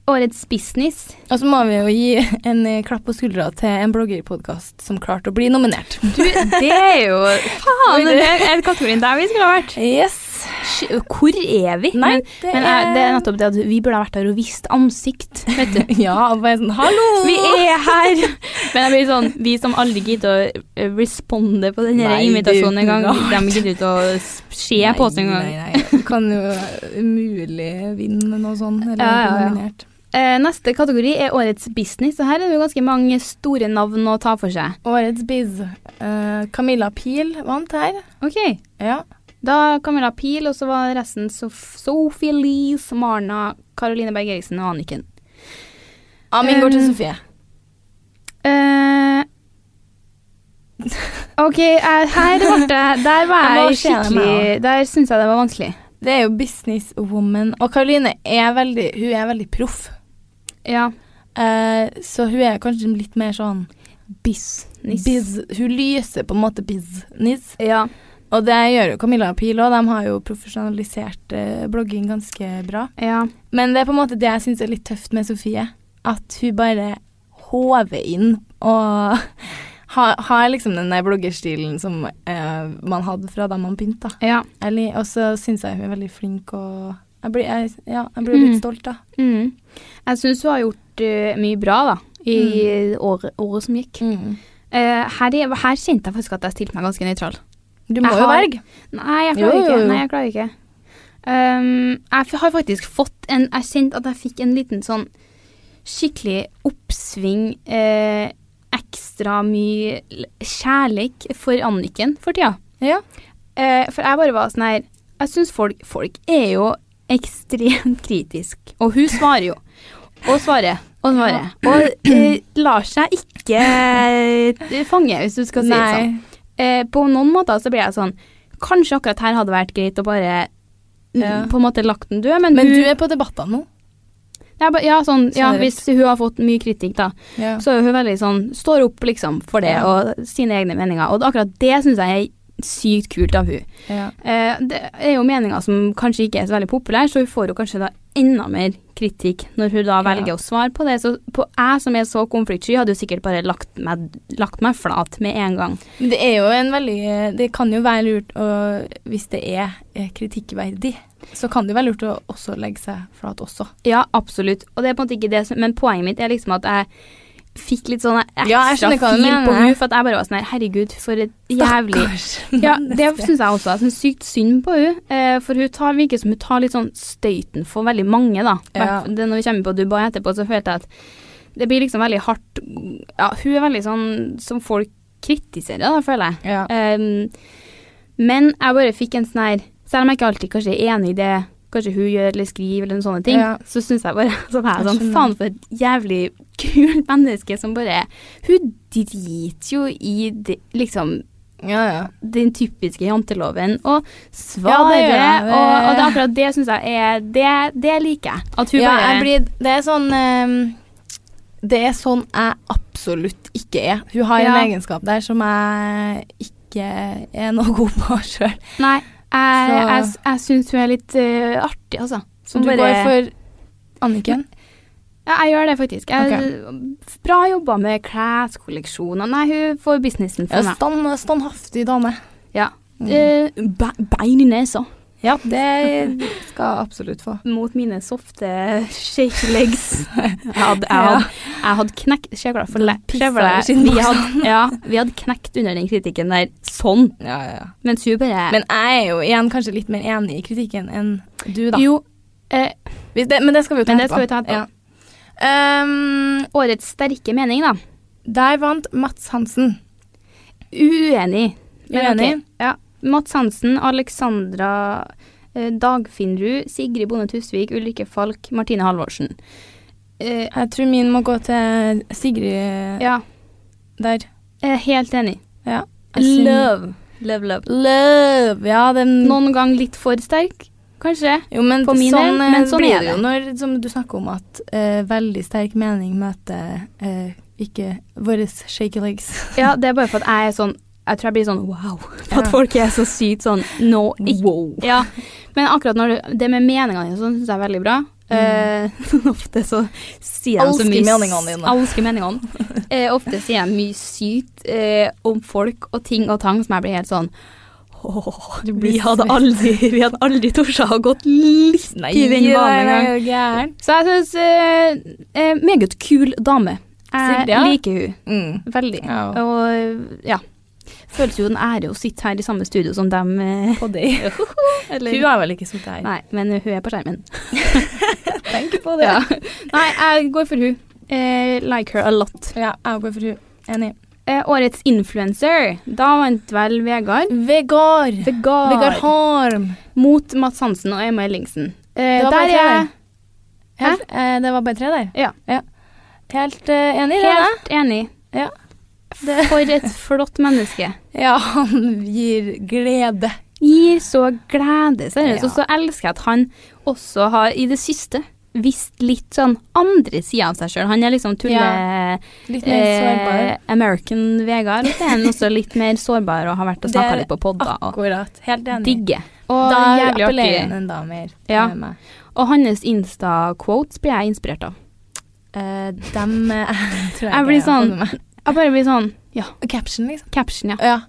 S2: Årets business.
S1: og så må vi jo gi en eh, klapp på skuldra til en bloggerpodkast som klarte å bli nominert.
S2: Du, det er jo Faen,
S1: Oi,
S2: det
S1: det-
S2: er den kategorien der vi skulle ha vært.
S1: Yes.
S2: Sh- Hvor er vi?
S1: Nei,
S2: men men jeg, det er nettopp det at vi burde ha vært der og vist ansikt, vet du.
S1: Ja, og bare sånn hallo!
S2: Vi er her! Men jeg blir sånn, vi som aldri gidder å eh, responde på den her
S1: Nei,
S2: invitasjonen
S1: det er
S2: engang,
S1: jo ikke
S2: de gidder ikke å s- se på oss engang.
S1: Nei, nei, du kan jo umulig vinne noe sånt, eller
S2: Ja, ja,
S1: bli
S2: ja.
S1: nominert.
S2: Eh, neste kategori er årets business, og her er det jo ganske mange store navn å ta for seg.
S1: Årets biz. Eh, Camilla Pil vant her.
S2: Ok,
S1: Ja.
S2: da Camilla Pil, og så var resten Sof Sophie Elise, Marna, Caroline Berg Eriksen og Anniken.
S1: Ja, min går til
S2: Um,
S1: Sofie.
S2: Eh, ok, eh, her ble det Der var
S1: Jeg må
S2: jeg
S1: se det med
S2: skikkelig Der syns jeg det var vanskelig.
S1: Det er jo businesswoman. Og Karoline er veldig, hun er veldig proff.
S2: Ja.
S1: Eh, så hun er kanskje litt mer sånn
S2: Business.
S1: biz. Hun lyser på en måte business.
S2: Ja.
S1: Og det gjør jo Camilla og Pil òg. De har jo profesjonalisert eh, blogging ganske bra.
S2: ja.
S1: Men det er på en måte det jeg syns er litt tøft med Sofie. At hun bare håver inn og har, har liksom den der bloggerstilen som eh, man hadde fra da man begynte. da.
S2: ja.
S1: Jeg li- Og så syns jeg hun er veldig flink og jeg blir, jeg, ja, jeg blir litt
S2: Mm.
S1: stolt, da.
S2: Mm. Jeg syns hun har gjort eh, mye bra da, i
S1: Mm.
S2: året, året som gikk. Eh, her, er- her kjente jeg faktisk at jeg stilte meg ganske nøytral.
S1: Du må
S2: Jeg
S1: jo
S2: har-
S1: velge.
S2: Nei,
S1: Jo,
S2: jeg klarer
S1: jo,
S2: ikke.
S1: jo.
S2: Nei, jeg klarer ikke. Um, jeg f- har faktisk fått en Jeg kjente at jeg fikk en liten sånn skikkelig oppsving. Eh, ekstra mye l- kjærleik for Anniken for tida.
S1: Ja.
S2: eh, For jeg bare var sånn her Jeg syns folk, folk er jo ekstremt kritisk. Og hun svarer jo. Og svarer. Og svarer. Og eh, lar seg ikke eh, fange, hvis du skal si det
S1: Nei.
S2: sånn. Eh, på noen måter så blir jeg sånn Kanskje akkurat her hadde vært greit å bare
S1: Ja.
S2: På en måte lagt den død, men,
S1: Men
S2: hun
S1: du er på debattene nå.
S2: ja, ba- ja, sånn, ja,
S1: Generelt.
S2: hvis hun har fått mye kritikk, da,
S1: Ja.
S2: så er hun veldig sånn Står opp, liksom, for det,
S1: Ja.
S2: og sine egne meninger. Og akkurat det syns jeg er sykt kult av hun.
S1: ja.
S2: Eh, det er jo meninger som kanskje ikke er så veldig populære, så hun får jo kanskje da enda mer kritikk når hun da velger
S1: Ja.
S2: å svare på det. Så på jeg som er så konfliktsky, hadde jo sikkert bare lagt meg, lagt meg flat med en gang.
S1: Men det er jo en veldig Det kan jo være lurt å Hvis det er eh, kritikkverdig, så kan det jo være lurt å også legge seg flat også.
S2: Ja, absolutt. Og det er på en måte ikke det som Men poenget mitt er liksom at jeg fikk litt sånn
S1: Ja, jeg
S2: ekstra
S1: skjønner hva du
S2: fil på
S1: mener.
S2: henne, for at jeg bare var sånn her Herregud, for et jævlig
S1: Stakkars
S2: Ja, det
S1: menneske.
S2: syns jeg også. Jeg syns sykt synd på hun eh, For hun tar, virker som hun tar litt sånn støyten for veldig mange, da.
S1: Ja.
S2: Det, når vi kommer på Dubai etterpå, så følte jeg at det blir liksom veldig hardt Ja, hun er veldig sånn som folk kritiserer, da, føler jeg.
S1: Ja.
S2: Um, men jeg bare fikk en sånn her Selv om jeg ikke alltid kanskje er enig i det kanskje hun gjør eller skriver, eller noen sånne ting,
S1: Ja.
S2: så syns jeg bare så var jeg
S1: Jeg
S2: sånn
S1: skjønner.
S2: Faen, for et jævlig kult menneske som bare Hun driter jo i det, liksom
S1: Ja, ja.
S2: den typiske janteloven og
S1: Ja,
S2: svarer.
S1: det gjør jeg.
S2: og, og det er akkurat det syns jeg er Det, det liker jeg. At hun
S1: ja,
S2: bare
S1: jeg blir, det er sånn ehm, Det er sånn jeg absolutt ikke er. Hun har
S2: Ja.
S1: en egenskap der som jeg ikke er noe god på sjøl.
S2: Nei, jeg,
S1: Så-
S2: jeg, jeg syns hun er litt eh, artig, altså.
S1: Så du går for Anniken?
S2: Ja, jeg gjør det faktisk. Jeg, Bra jobba med kleskolleksjoner. Nei, hun får businessen for meg.
S1: stand, standhaftig dame. Mm.
S2: Ja. Eh, be- bein i nesa.
S1: Ja, det skal jeg absolutt få.
S2: Mot mine softe shake legs. Jeg hadde, jeg hadde, jeg hadde knekt skjevla for le-
S1: Pissa
S2: skjevla.
S1: i skinnbuksa.
S2: Vi hadde, ja, vi hadde knekt under den kritikken der sånn.
S1: Ja, ja, ja.
S2: Mens hun bare
S1: Men jeg er jo igjen kanskje litt mer enig i kritikken enn du, da.
S2: Jo, eh,
S1: Hvis det, men det skal vi jo ta
S2: Men det skal vi ta etterpå.
S1: Ja. Ehm,
S2: årets sterke mening, da.
S1: der vant Mats Hansen.
S2: Uenig. Men
S1: Uenig?
S2: ok, Ja. Mats Hansen, Alexandra eh, Dagfinnrud, Sigrid Bonde Tusvik, Ulrikke Falk, Martine Halvorsen. Eh,
S1: Jeg tror min må gå til Sigrid
S2: ja,
S1: der.
S2: jeg er helt enig.
S1: Ja.
S2: Love. Love, love.
S1: Love. Ja, den
S2: Noen gang litt for sterk, kanskje.
S1: jo, men
S2: på min
S1: sånn,
S2: del,
S1: eh,
S2: men sånn
S1: blir
S2: er
S1: det jo
S2: det.
S1: når som du snakker om at eh, veldig sterk mening møter eh, ikke våre shaky legs.
S2: Ja, det er bare for at jeg er sånn jeg tror jeg blir sånn wow, for at
S1: Ja.
S2: folk er så sykt sånn no, ikk-
S1: Wow.
S2: Ja, men akkurat når du, det med meningene dine sånn, syns jeg er veldig bra.
S1: Mm.
S2: Eh, ofte så sier de så
S1: Elsker
S2: mye
S1: meningene dine.
S2: Elsker meningene. Eh, ofte sier jeg mye sykt eh, om folk og ting og tang som jeg blir helt sånn Åh, vi, hadde aldri, vi hadde aldri torsa å gått litt i den banen engang.
S1: er jo gæren.
S2: Så jeg syns eh, eh, meget kul dame. Jeg
S1: Silja?
S2: liker hun.
S1: Mm.
S2: Veldig.
S1: Ja.
S2: Og ja. Føles jo en ære å sitte her i samme studio som dem. eh,
S1: På deg.
S2: Eller,
S1: Hun har vel ikke sittet her.
S2: Nei, men hun er på skjermen.
S1: Tenk på
S2: Ja. Nei, jeg går for hun. Eh, like her a lot.
S1: Ja, jeg går for hun. Enig.
S2: Eh, årets influencer. Da vant vel Vegard.
S1: Vegard.
S2: Vegard.
S1: Vegard Harm.
S2: Mot Mads Hansen og Emma Ellingsen. Eh,
S1: Det var
S2: der
S1: bare
S2: er
S1: tre
S2: jeg Hæ?
S1: Helt, eh, det var bare tre der.
S2: Ja.
S1: Helt eh, enig i det.
S2: helt enig.
S1: Ja.
S2: For et flott
S1: da.
S2: menneske.
S1: Ja, han gir glede.
S2: gir så glede, seriøst.
S1: Ja.
S2: Og så elsker jeg at han også har, i det siste, visst litt sånn andre sida av seg sjøl. Han er liksom tulle...
S1: Litt mer sårbar.
S2: Eh, American Vegard. Så er han også litt mer sårbar og har vært og
S1: Det er
S2: snakka litt på podder. Og
S1: Akkurat. Helt enig.
S2: digger. Og
S1: Da
S2: jævlig
S1: appellerer han
S2: artig.
S1: enda mer
S2: Ja.
S1: med meg.
S2: Og hans Insta-quotes blir jeg inspirert av.
S1: Eh, dem eh, tror jeg,
S2: Jeg blir
S1: ikke har
S2: sånn-
S1: fått med meg.
S2: Jeg bare blir sånn Ja,
S1: Caption, liksom.
S2: caption, ja.
S1: Ja.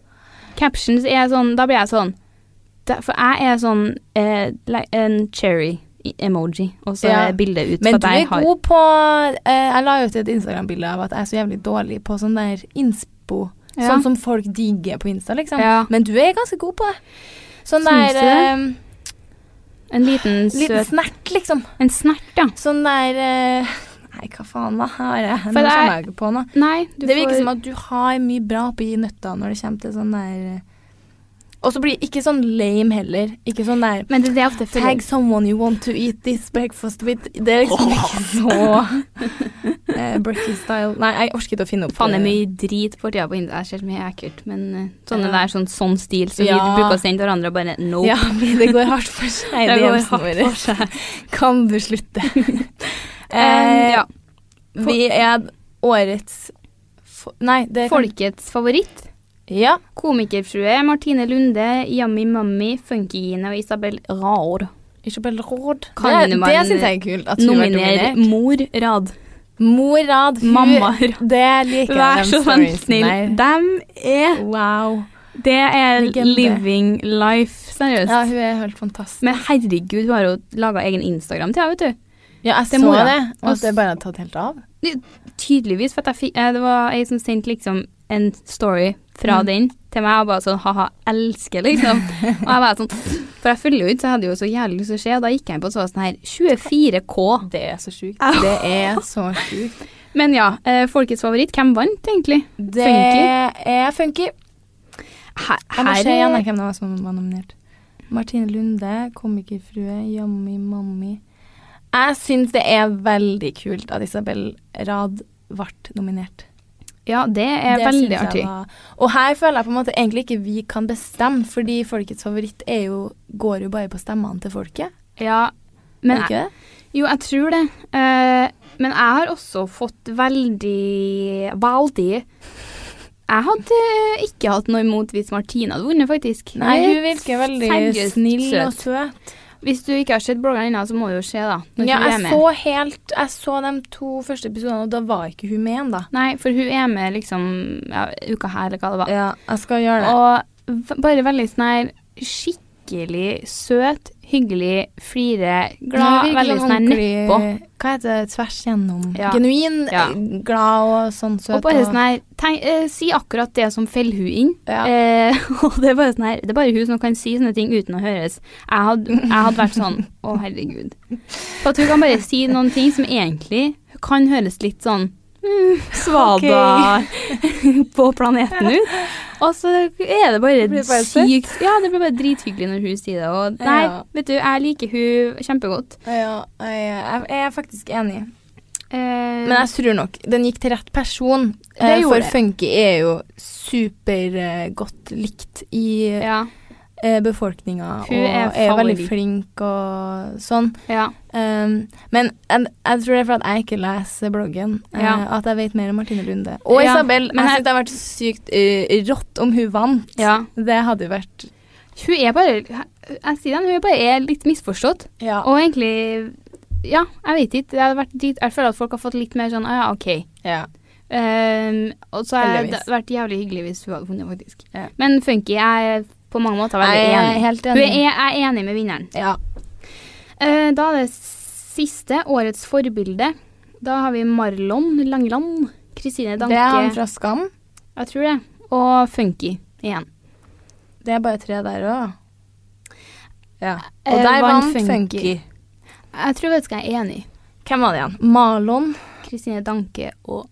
S2: Captions er sånn Da blir jeg sånn da, For jeg er sånn eh, like en cherry emoji, og så
S1: Ja.
S2: er bildet ut.
S1: Men
S2: for at
S1: du
S2: jeg
S1: er
S2: har-
S1: god på eh, Jeg la ut et Instagram-bilde av at jeg er så jævlig dårlig på sånn der innspo.
S2: Ja.
S1: Sånn som folk digger på Insta, liksom.
S2: Ja.
S1: Men du er ganske god på det. Sånn der
S2: Syns du
S1: eh,
S2: En liten
S1: Liten
S2: søt
S1: snert, liksom.
S2: En snert, ja.
S1: Sånn der eh, Nei, hva faen, hva har jeg? Nå
S2: For det er-
S1: kommer jeg ikke på noe.
S2: Nei, du
S1: Det virker
S2: får
S1: som at du har mye bra oppi nøtta når det kommer til sånn der eh, Og så blir det ikke sånn lame heller. Ikke sånn der
S2: Men det er det jeg ofte føler
S1: Tag someone you want to eat this breakfast with. Det er liksom ikke så eh, Brecky-style. Nei, jeg orker ikke å finne opp
S2: Faen, det er
S1: eh,
S2: mye drit på tida på internett. Jeg ser så mye ekkelt. Men eh, sånne
S1: Ja.
S2: der, sånn, sånn stil som
S1: Ja.
S2: vi bruker å sende til hverandre, bare no.
S1: Ja, men det går hardt for seg.
S2: Det
S1: Det
S2: går
S1: går
S2: hardt for seg.
S1: Kan du slutte?
S2: Eh, ja.
S1: Vi er årets fo- Nei, det kan-
S2: Folkets favoritt.
S1: Ja.
S2: Komikerfrue Martine Lunde, Yummy Mummy, Funkygine og Isabel Raor.
S1: Isabel Råd.
S2: Kan
S1: det
S2: man
S1: det syns jeg er kult. At hun
S2: Nominer mor Rad.
S1: Morad. hun-
S2: Mamma Rad.
S1: Det liker jeg.
S2: Vær
S1: de
S2: så
S1: storiesene der.
S2: snill. Dem er
S1: Wow.
S2: Det er
S1: Legende.
S2: living life, seriøst.
S1: Ja, hun er helt fantastisk.
S2: Men herregud, hun har jo laga egen Instagram til henne, vet du.
S1: Ja, jeg
S2: Det
S1: så
S2: er mora.
S1: det. Og
S2: Og
S1: det er bare tatt helt av.
S2: Tydeligvis, for at jeg fikk, eh, det var ei som sendte liksom en story fra
S1: Mm.
S2: den til meg, og bare sånn ha-ha, elsker, liksom. og jeg bare sånn For jeg følger jo ikke, så jeg hadde jo så jævlig lyst til å se, og da gikk jeg inn på og så sånn her 24K.
S1: Det er så sjukt.
S2: Au.
S1: Det er så sjukt.
S2: Men ja, eh, folkets favoritt, hvem vant egentlig?
S1: Det
S2: Funky.
S1: er funky.
S2: Her,
S1: Jeg må
S2: her-
S1: se igjen jeg, hvem det var som var nominert. Martine Lunde, komikerfrue, Jammi Mammi. Jeg syns det er veldig kult at Isabel Rad ble nominert.
S2: Ja, det er
S1: Det syns
S2: veldig
S1: jeg
S2: artig.
S1: var- Og her føler jeg på en måte egentlig ikke vi kan bestemme, fordi folkets favoritt er jo, går jo bare på stemmene til folket.
S2: Ja,
S1: Men
S2: men jeg,
S1: ikke det?
S2: Jo, jeg tror det. Eh, men jeg har også fått veldig Veldig Jeg hadde ikke hatt noe imot hvis Martine hadde vunnet, faktisk.
S1: Nei,
S2: Hun er
S1: hun virker veldig
S2: seriøst
S1: snill altså. og
S2: søt.
S1: søt.
S2: Hvis du ikke har sett bloggeren ennå, så må du jo se, da. Når
S1: Ja,
S2: hun er
S1: jeg
S2: med.
S1: så helt Jeg så de to første episodene, og da var ikke hun med igjen, da.
S2: Nei, for hun er med liksom ja, uka her, eller hva det var.
S1: Ja, jeg skal gjøre
S2: Og v- bare veldig sånn her skikkelig søt, hyggelig, flire, glad, veldig sånn her nedpå.
S1: Hva heter det? Tvers gjennom.
S2: Ja.
S1: Genuin,
S2: Ja.
S1: glad og sånn søt.
S2: Og bare sånn her tenk, eh, Si akkurat det som feller hun inn.
S1: Ja.
S2: Eh, og det er, bare sånn her, det er bare hun som kan si sånne ting uten å høres. Jeg hadde, jeg hadde vært sånn Å, herregud. For at hun kan bare si noen ting som egentlig kan høres litt sånn mm, svada på planeten ut. Og så er det bare,
S1: Blir det bare
S2: sykt Ja, det blir bare drithyggelig når hun sier det. Og nei,
S1: Ja.
S2: vet du, jeg liker hun kjempegodt.
S1: ja, jeg, jeg jeg er faktisk enig.
S2: Eh,
S1: Men jeg tror nok den gikk til rett person.
S2: Det
S1: Eh,
S2: gjorde
S1: For
S2: det.
S1: funky er jo supergodt likt i
S2: ja,
S1: eh, befolkninga.
S2: Hun
S1: og
S2: er
S1: er veldig
S2: favoritt.
S1: flink og sånn.
S2: ja.
S1: Um, men jeg, jeg tror det er fordi jeg ikke leser bloggen, eh,
S2: Ja.
S1: at jeg vet mer om Martine Lunde. Og
S2: Ja,
S1: Isabel.
S2: men
S1: Jeg
S2: jeg-
S1: syns det hadde vært sykt eh, rått om hun vant.
S2: ja.
S1: Det hadde jo vært
S2: Hun er bare Jeg sier det, hun bare er litt misforstått.
S1: Ja.
S2: Og egentlig Ja, jeg vet ikke. Det hadde vært dit, jeg føler at folk har fått litt mer sånn «Ah, Ja, OK.
S1: ja.
S2: Ehm, og så hadde det
S1: Heldigvis.
S2: vært jævlig hyggelig hvis hun hadde vunnet, faktisk.
S1: Ja.
S2: Men Funky er på mange måter veldig
S1: Jeg er
S2: enig.
S1: helt
S2: Hun
S1: enig.
S2: er, e-, jeg er enig med vinneren.
S1: Ja.
S2: Eh, da er det siste, årets forbilde. Da har vi Marlon Langeland. Kristine Danke.
S1: Det er han fra Skam.
S2: Jeg tror det. Og Funky igjen.
S1: Det er bare tre der òg. Ja. Og
S2: Eh,
S1: der
S2: vant
S1: vant Funky.
S2: Funky. Jeg tror vet du hva jeg er enig i.
S1: Hvem var det igjen? Marlon.
S2: Kristine Danke og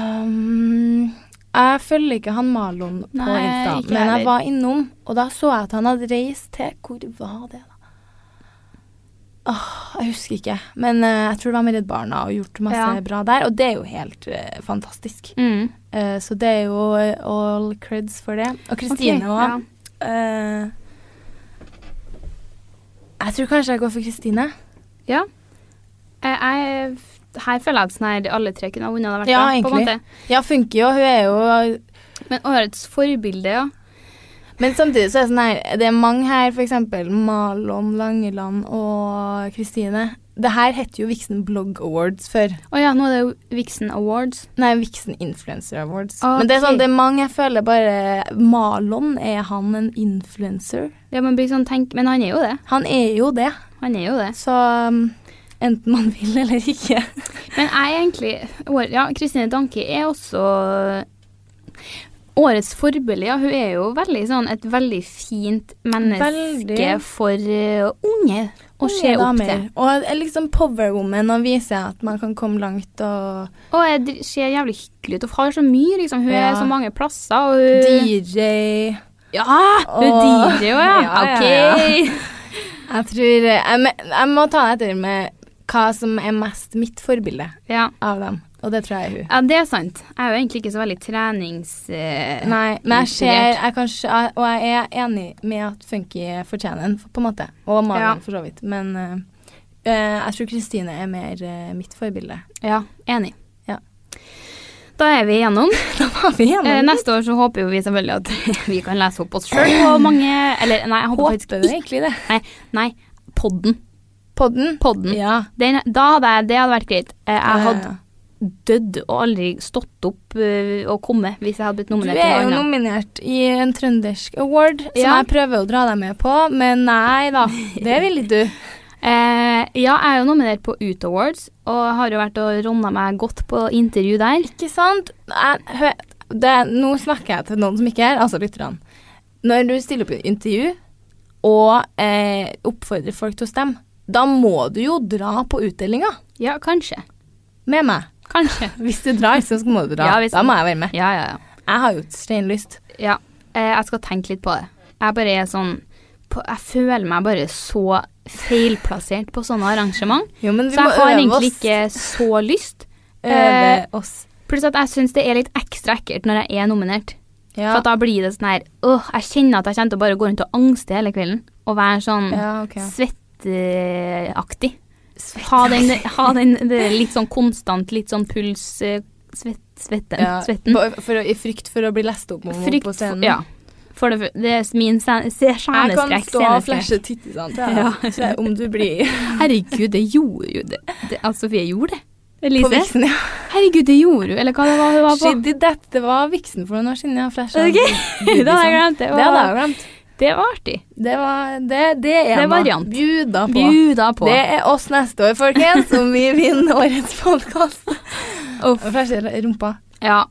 S1: Um, jeg følger ikke han Marlon på
S2: Nei,
S1: Insta,
S2: ikke
S1: men
S2: heller.
S1: jeg var innom, og da så jeg at han hadde reist til Hvor var det, da? Åh, jeg husker ikke, men eh, jeg tror det var med Redd Barna og gjort masse
S2: Ja.
S1: bra der. Og det er jo helt eh, fantastisk.
S2: mm.
S1: Eh, så det er jo eh, all creds for det. Og Kristine
S2: Ok,
S1: òg.
S2: ja.
S1: Eh, jeg tror kanskje jeg går for Kristine.
S2: Ja. Jeg, jeg, her føler jeg at sånn her, alle tre kunne ha vunnet. hadde vært
S1: Ja,
S2: bra, på en
S1: egentlig.
S2: måte.
S1: Ja, funker jo. Hun er jo
S2: Men årets forbilde, ja.
S1: Men samtidig så er det sånn her Det er mange her, for eksempel Malon Langeland og Kristine. Det her heter jo Vixen Blog Awards før.
S2: Å ja, nå er det jo Vixen Awards.
S1: Nei, Vixen Influencer Awards.
S2: Ok.
S1: Men det er sånn, det er mange jeg føler bare Malon, er han en influencer?
S2: Ja, man blir sånn tenk, Men han er jo det.
S1: Han er jo det.
S2: Han er jo det.
S1: Så um, enten man vil eller ikke.
S2: Men jeg er egentlig år- Ja, Kristine Danke er også Årets forbilde, ja. Hun er jo veldig sånn et veldig fint menneske
S1: Veldig.
S2: for eh, unge å se
S1: Unge
S2: opp
S1: damer.
S2: til.
S1: Og er liksom power woman og viser at man kan komme langt og
S2: Og jeg dr- ser jævlig hyggelig ut. Hun har så mye, liksom. Hun
S1: Ja.
S2: er så mange plasser. Og hun
S1: DJ
S2: Ja, du digger jo, ja. Ok.
S1: Jeg tror jeg, me- jeg må ta det etter med hva som er mest mitt forbilde
S2: Ja.
S1: av dem. Og det tror jeg er hun.
S2: ja, det er sant. Jeg er jo egentlig ikke så veldig trenings... eh,
S1: Nei, men jeg ser
S2: inspirert.
S1: jeg kanskje, jeg- Og jeg er enig med at Funky fortjener den, på en måte. Og Malin,
S2: Ja.
S1: for så vidt. Men eh, eh, jeg tror Kristine er mer eh, mitt forbilde.
S2: Ja, enig.
S1: Ja.
S2: Da er vi igjennom.
S1: Har vi igjennom?
S2: Eh, neste år så håper jo vi selvfølgelig at vi kan lese opp oss sjøl på mange Eller nei, jeg håper faktisk
S1: Håper du egentlig det?
S2: Nei, nei podden.
S1: Podden?
S2: Podden.
S1: Ja.
S2: Den, da hadde jeg, det hadde vært greit. Eh, Jeg
S1: Ja, ja, ja.
S2: hadde dødd og aldri stått opp eh, og kommet hvis jeg hadde blitt
S1: Du
S2: nominert.
S1: er
S2: til
S1: jo
S2: noe annet.
S1: nominert i en trøndersk award, som
S2: Ja.
S1: jeg prøver å dra deg med på, men nei da. Det vil ikke du.
S2: Eh, ja, jeg er jo nominert på Ut Awards, og har jo vært og ronna meg godt på intervju der.
S1: Ikke sant? Jeg, hø, det, nå snakker jeg til noen som ikke er her, altså lytterne. Når du stiller opp i intervju og eh, oppfordrer folk til å stemme, da må du jo dra på utdelinga
S2: Ja, kanskje.
S1: med meg.
S2: Kanskje.
S1: Hvis du drar, så må du dra.
S2: Ja, hvis-
S1: da må jeg være med.
S2: Ja, ja, ja.
S1: Jeg har jo steinlyst.
S2: Ja, eh, jeg skal tenke litt på det. Jeg bare er sånn på, Jeg føler meg bare så feilplassert på sånne arrangement.
S1: Jo, men vi
S2: Så jeg
S1: må
S2: har
S1: øve
S2: egentlig
S1: oss.
S2: ikke så lyst.
S1: Øve
S2: Eh,
S1: oss.
S2: Pluss at jeg syns det er litt ekstra ekkelt når jeg er nominert.
S1: Ja.
S2: For at da blir det sånn her Åh, jeg kjenner at jeg kommer til å bare gå rundt og angste hele kvelden. Og være sånn
S1: Ja, ok.
S2: svetteaktig. Ha den, ha den det er litt sånn konstant, litt sånn puls eh, svett, svetten,
S1: Ja,
S2: svetten.
S1: For, for, å- I frykt for å bli lest opp om
S2: Frykt
S1: på
S2: for,
S1: scenen.
S2: ja. for det, det er min scen- se-
S1: Jeg
S2: sceneskrekk.
S1: kan stå og
S2: sceneskrekk.
S1: flashe tittisene til
S2: Ja.
S1: deg se om du blir
S2: Herregud, det gjorde jo det. det altså, Sofie gjorde det.
S1: på
S2: Elise.
S1: viksen. Ja.
S2: Herregud, det gjorde hun. Eller hva det var hun var på.
S1: She did that. Det var Vixen for noen år siden. Jeg flasha
S2: Ok,
S1: Gud,
S2: det hadde jeg
S1: liksom.
S2: glemt. Det
S1: Det hadde jeg
S2: var,
S1: jo glemt.
S2: det var artig.
S1: Det, var, det, det er
S2: Det er
S1: noe.
S2: variant.
S1: Bjuda på.
S2: Bjuda på.
S1: Det er oss neste år, folkens, om vi vinner årets podkast. Flashe rumpa.
S2: Ja.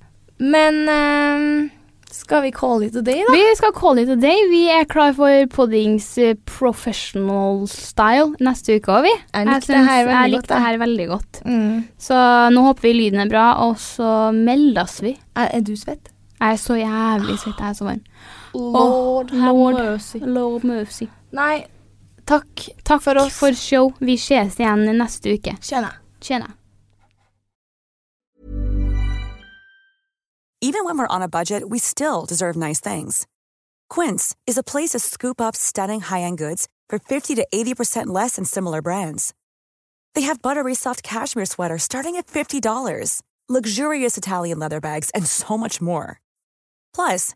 S1: Men ehm, skal vi call it a day, da?
S2: Vi skal call it a day. Vi er klar for Poddings eh, professional style neste uke òg, vi.
S1: Jeg likte det
S2: syns-
S1: her veldig
S2: jeg
S1: godt,
S2: likte det her veldig godt.
S1: Mm.
S2: Så nå håper vi lyden er bra, og så meldes vi.
S1: Er, er du svett?
S2: Jeg er så jævlig svett. Jeg er så varm.
S1: Lord,
S2: have
S1: mercy.
S2: Lord mercy.
S1: Nei, takk. Takk for oss.
S2: For show. Vi ses igjen neste uke.
S1: Tjena.
S2: Tjena.
S6: Even when we're on a budget, we still deserve nice things. Quince is a place to scoop up stunning high end goods for 50 to 80% less than similar brands. They have buttery soft cashmere sweaters starting at $50, luxurious Italian leather bags, and so much more. Plus,